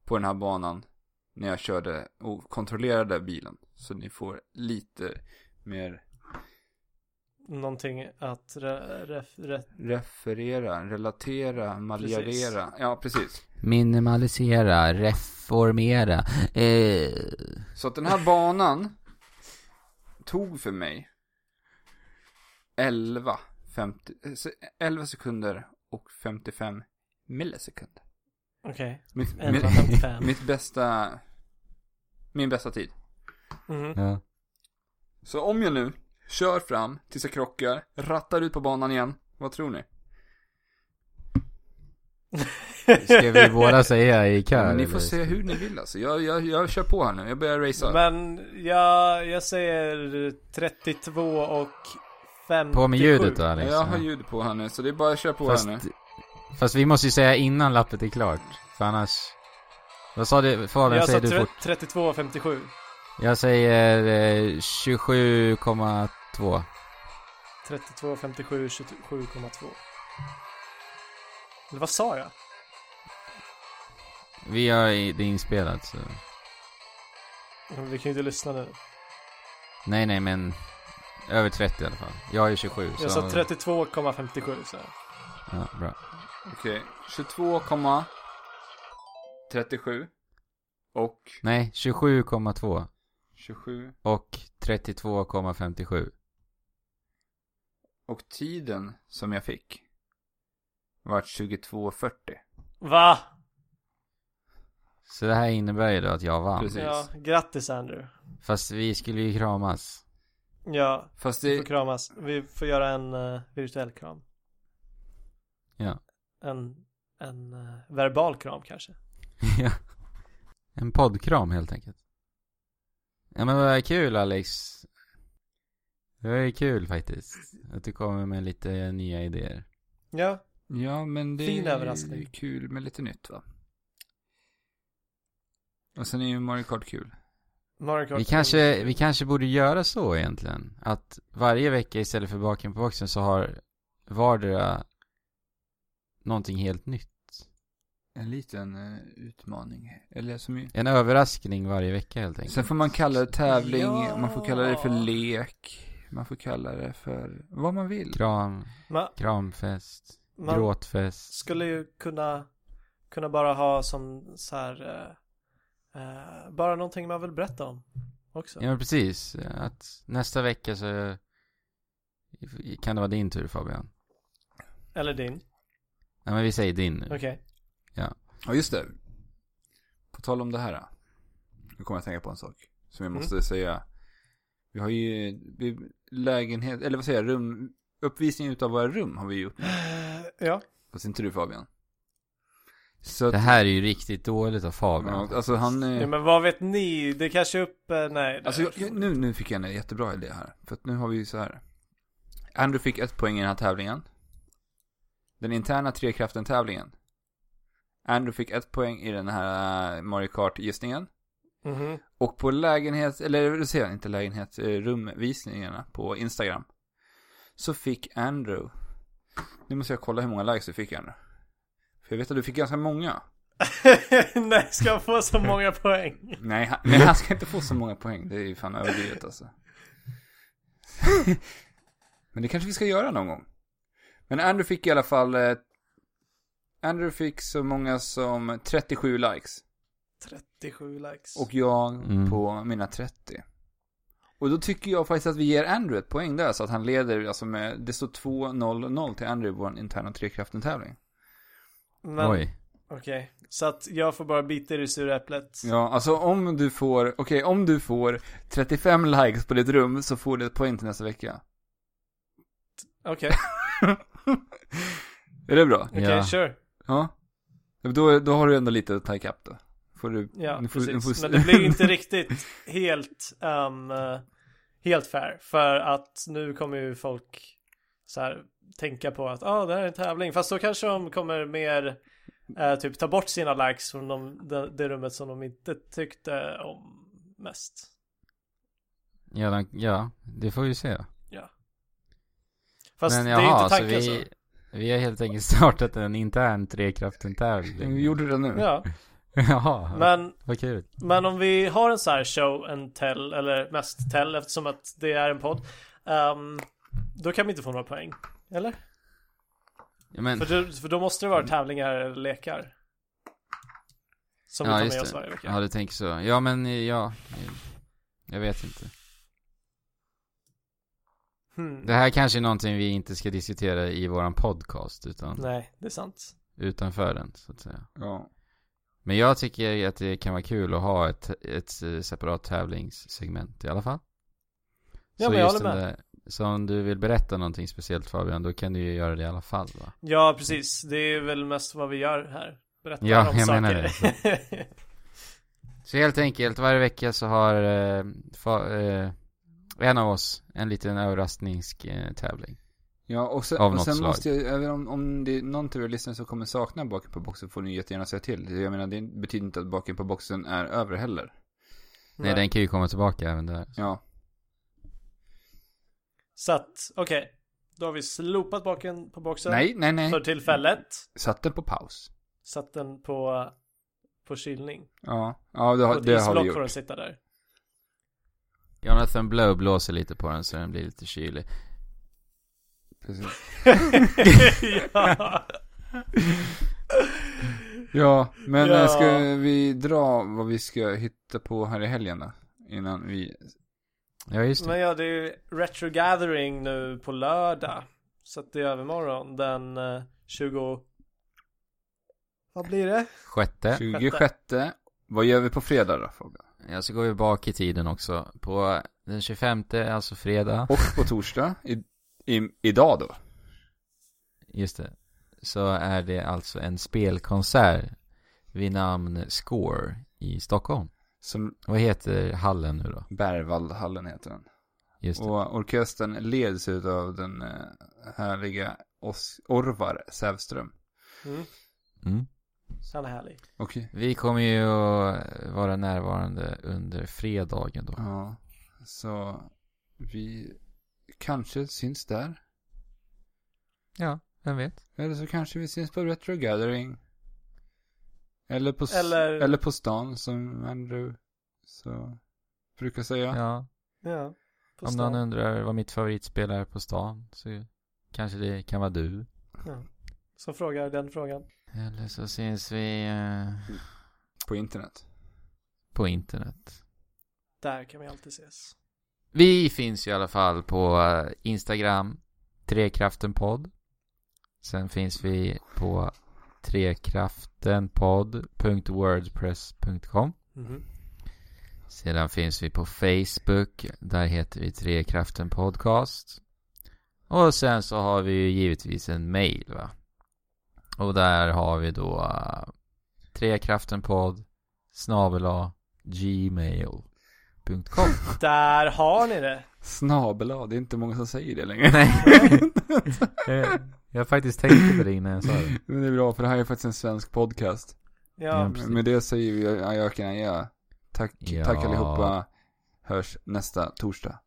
Speaker 1: på den här banan när jag körde och kontrollerade bilen. Så ni får lite mer
Speaker 3: någonting att re, ref, re,
Speaker 1: Referera, relatera, maljarera. Ja, precis.
Speaker 2: Minimalisera, reformera. Eh,
Speaker 1: Så att den här banan tog för mig 11, 50, eh, se- 11 sekunder och 55 millisekunder.
Speaker 3: okej,
Speaker 1: Mitt, mitt,
Speaker 3: 11.55.
Speaker 1: mitt bästa, min bästa tid.
Speaker 3: Mhm.
Speaker 2: ja.
Speaker 1: Så om jag nu kör fram tills jag krockar, rattar ut på banan igen, vad tror ni?
Speaker 2: Ska vi båda säga i kör?
Speaker 1: Men ni får
Speaker 2: eller?
Speaker 1: se hur ni vill alltså. Jag, jag, jag kör på här nu, jag börjar racea.
Speaker 3: Men jag, jag säger 32 och 57.
Speaker 2: På med ljudet då Alex.
Speaker 1: jag har ljud på här nu, så det är bara att köra på
Speaker 2: Fast,
Speaker 1: här nu.
Speaker 2: fast vi måste ju säga innan lappet är klart. För annars... Vad sa du? Fabian,
Speaker 3: Jag sa
Speaker 2: säger du
Speaker 3: tre-
Speaker 2: fort.
Speaker 3: 32 och 57.
Speaker 2: Jag säger eh, 27,2.
Speaker 3: 32, 57, 27,2. Eller vad sa jag?
Speaker 2: Vi har i- det inspelat så...
Speaker 3: Vi kan ju inte lyssna nu.
Speaker 2: Nej, nej, men... Över 30 i alla fall. Jag är 27. så...
Speaker 3: Jag sa 32,57 så.
Speaker 2: Ja, bra.
Speaker 1: Okej, 22,37 och
Speaker 2: Nej, 27,2
Speaker 1: 27
Speaker 2: och 32,57.
Speaker 1: och tiden som jag fick vart 22,40.
Speaker 3: Va?
Speaker 2: Så det här innebär ju då att jag vann.
Speaker 1: Precis.
Speaker 3: Ja, grattis Andrew.
Speaker 2: Fast vi skulle ju kramas.
Speaker 3: Ja,
Speaker 1: Fast
Speaker 3: vi får
Speaker 1: det,
Speaker 3: kramas. Vi får göra en eh, virtuell kram.
Speaker 2: Ja.
Speaker 3: En, en eh, verbal kram kanske.
Speaker 2: <laughs> Ja. En poddkram helt enkelt. Ja men vad kul Alex. Det var ju kul faktiskt. Att du kommer med lite nya idéer.
Speaker 3: Ja,
Speaker 1: ja men det
Speaker 3: Fin
Speaker 1: är
Speaker 3: överraskning.
Speaker 1: ju kul med lite nytt va? Och sen är ju Mario Kart kul.
Speaker 3: Mario Kart.
Speaker 2: Vi kanske, vi kanske borde göra så egentligen. Att varje vecka istället för baken på boxen så har vardera någonting helt nytt.
Speaker 1: En liten eh, utmaning. Eller som ju...
Speaker 2: En överraskning varje vecka helt enkelt.
Speaker 1: Sen får man kalla det tävling,
Speaker 3: Ja.
Speaker 1: man får kalla det för lek, man får kalla det för vad man vill.
Speaker 2: Kram,
Speaker 3: Man,
Speaker 2: kramfest,
Speaker 3: man
Speaker 2: gråtfest.
Speaker 3: skulle ju kunna, kunna bara ha som så här, eh, eh, bara någonting man vill berätta om också.
Speaker 2: Ja men precis, att nästa vecka så kan det vara din tur Fabian.
Speaker 3: Eller din.
Speaker 2: Nej men vi säger din nu.
Speaker 3: Okej.
Speaker 1: Ja, just det. På tal om det här. Nu kommer jag att tänka på en sak. Som
Speaker 3: Mm.
Speaker 1: jag måste säga. Vi har ju vi, lägenhet, eller vad säger jag, rum, uppvisning utav våra rum har vi gjort.
Speaker 3: Eh, Ja.
Speaker 1: Fast inte du Fabian. Så att,
Speaker 2: Det här är ju riktigt dåligt av Fabian.
Speaker 1: ja, alltså han, eh,
Speaker 3: ja, men vad vet ni? Det kanske är upp, eh, nej. det-
Speaker 1: alltså jag- jag, nu, nu fick jag en jättebra idé här. För att nu har vi ju så här. Andrew fick ett poäng i den här tävlingen. Den interna trekraften-tävlingen. Andrew fick ett poäng i den här Mario Kart-gissningen.
Speaker 3: Mhm. <laughs>
Speaker 1: Och på lägenhet, eller vad säger jag, inte lägenhet, eh, rumvisningarna på Instagram. Så fick Andrew, nu måste jag kolla hur många likes du fick Andrew. För jag vet att du fick ganska många.
Speaker 3: nej, ska jag få så många poäng?
Speaker 1: Nej, han, nej, han ska inte få så många poäng, det är ju fan överdrivet alltså. <laughs> Men det kanske vi ska göra någon gång. Men Andrew fick i alla fall, eh, Andrew fick så många som 37 likes.
Speaker 3: 37 likes.
Speaker 1: Och jag
Speaker 2: Mm.
Speaker 1: på mina 30. Och då tycker jag faktiskt att vi ger Andrew ett poäng där så att han leder, alltså med, det står 2-0-0 till Andrew i vår interna trekraften-tävling.
Speaker 3: Men, okej.
Speaker 2: Oj.
Speaker 3: Så att jag får bara bita i det sura äpplet.
Speaker 1: Ja, alltså om du får, okej om du får 35 likes på ditt rum så får du ett poäng till nästa vecka.
Speaker 3: Okej,
Speaker 1: Är det bra?
Speaker 3: okej,
Speaker 2: Ja.
Speaker 3: sure.
Speaker 1: Ja. Då, då har du ändå lite att ta ikapp då. Får du,
Speaker 3: Ja,
Speaker 1: nu får- nu
Speaker 3: precis.
Speaker 1: får-
Speaker 3: Men det blir ju inte riktigt helt, ehm, eh, helt fair. För att nu kommer ju folk så här, tänka på att ah, det här är en tävling. Fast då kanske de kommer mer eh, typ ta bort sina likes från de, det, det rummet som de inte tyckte om mest.
Speaker 2: Ja, den, ja, det får vi se.
Speaker 3: Fast
Speaker 2: men
Speaker 3: det är
Speaker 2: jaha,
Speaker 3: inte
Speaker 2: så
Speaker 3: tanken alltså. så.
Speaker 2: vi, vi har helt enkelt startat en intern
Speaker 3: <laughs>
Speaker 2: trekraften-tävling.
Speaker 1: Vi <laughs> gjorde det nu.
Speaker 3: Ja,
Speaker 2: <laughs> Jaha,
Speaker 3: men,
Speaker 2: vad kul.
Speaker 3: men om vi har en så här show and tell, eller mest tell eftersom att det är en podd. ehm, Då kan vi inte få några poäng. Eller?
Speaker 2: Ja, men,
Speaker 3: För, du, för då måste det vara tävlingar eller lekar. Som vi
Speaker 2: Ja,
Speaker 3: tar
Speaker 2: just
Speaker 3: med oss
Speaker 2: det.
Speaker 3: varje vecka.
Speaker 2: ja, du tänker så. Ja, men eh, ja. eh, Jag vet inte.
Speaker 3: Hmm.
Speaker 2: Det här kanske är någonting vi inte ska diskutera i våran podcast, utan
Speaker 3: Nej, det är sant.
Speaker 2: utanför den, så att säga.
Speaker 1: Ja.
Speaker 2: Men jag tycker att det kan vara kul att ha ett, ett eh, separat tävlingssegment i alla fall.
Speaker 3: Ja,
Speaker 2: Så
Speaker 3: men jag
Speaker 2: just
Speaker 3: håller
Speaker 2: den där- Så om du vill berätta någonting speciellt Fabian, då kan du ju göra det i alla fall va?
Speaker 3: Ja, precis. Det är väl mest vad vi gör här. Berättar
Speaker 2: Ja,
Speaker 3: om
Speaker 2: jag
Speaker 3: saker.
Speaker 2: menar
Speaker 3: <laughs>
Speaker 2: Så helt enkelt, varje vecka så har eh, fa, eh, en av oss en liten överraskningstävling.
Speaker 1: Ja, och sen,
Speaker 2: Av
Speaker 1: och
Speaker 2: något
Speaker 1: sen
Speaker 2: slag.
Speaker 1: måste jag, även om, om det är någon av er lyssnare som kommer sakna Baken på boxen får ni jättegärna säga till. Jag menar, det betyder inte att Baken på boxen är över heller.
Speaker 2: Nej, den kan ju komma tillbaka även där.
Speaker 1: Ja,
Speaker 3: Så att, okej. Då har vi slopat baken på boxen.
Speaker 1: nej, nej, nej.
Speaker 3: För tillfället.
Speaker 1: Satt den på paus.
Speaker 3: Satt den på, på kylning.
Speaker 1: Ja, ja det,
Speaker 3: På
Speaker 1: har-
Speaker 3: ett
Speaker 1: det har vi
Speaker 3: isblock får den
Speaker 1: gjort.
Speaker 3: sitta där.
Speaker 2: Jonathan Blow blåser lite på den så den blir lite kylig.
Speaker 1: Precis.
Speaker 3: ja.
Speaker 1: Ja, men
Speaker 3: Ja.
Speaker 1: eh, ska vi dra vad vi ska hitta på här i helgen då? Innan vi...
Speaker 2: Ja, just det.
Speaker 3: <laughs> Men ja, det är ju Retro Gathering nu på lördag. Så att det är övermorgon den eh, 20... Vad blir det?
Speaker 2: Sjätte.
Speaker 1: 26. Vad gör vi på fredag då, Fabian?
Speaker 2: Ja, så går vi bak i tiden också. På den 25, alltså fredag.
Speaker 1: Och på torsdag? I, i, idag då?
Speaker 2: Just det. Så är det alltså en spelkonsert vid namn Score i Stockholm.
Speaker 1: Som
Speaker 2: Vad heter hallen nu då?
Speaker 1: Berwaldhallen heter den.
Speaker 2: Just det.
Speaker 1: Och orkestern leds av den eh, härliga Os- Orvar Sävström.
Speaker 3: Mm,
Speaker 2: Mm.
Speaker 3: han är härlig.
Speaker 1: Okej.
Speaker 2: Vi kommer ju att vara närvarande under fredagen då.
Speaker 1: Ja. Så vi kanske syns där.
Speaker 2: Ja, vem vet.
Speaker 1: Eller så kanske vi syns på Retro Gathering. Eller på, s-
Speaker 3: Eller-
Speaker 1: eller på stan som Andrew så brukar säga.
Speaker 2: Ja,
Speaker 3: Ja. På
Speaker 2: om någon undrar vad mitt favoritspel är på stan så kanske det kan vara du.
Speaker 3: Som frågar den frågan.
Speaker 2: Eller så syns vi eh,
Speaker 1: På internet.
Speaker 2: på internet.
Speaker 3: Där kan vi alltid ses.
Speaker 2: Vi finns ju i alla fall på eh, Instagram, Trekraftenpodd. Sen finns vi på trekraftenpodd.wordpress.com.
Speaker 3: Mhm.
Speaker 2: Sedan finns vi på Facebook, där heter vi Trekraften Podcast. Och sen så har vi ju givetvis en mail va. Och där har vi då uh, trekraftenpodd snabela gmail.com
Speaker 3: Där har ni det.
Speaker 1: Snabela, det är inte många som säger det längre. <laughs>
Speaker 2: Nej. Eh, jag faktiskt tänkte på det innan jag sa det.
Speaker 1: <laughs> Men det är bra för det här är faktiskt en svensk podcast.
Speaker 3: Ja.
Speaker 2: precis.
Speaker 1: Med det säger vi ajöken adjö. Tack,
Speaker 2: Ja.
Speaker 1: tack allihopa. Hörs nästa torsdag.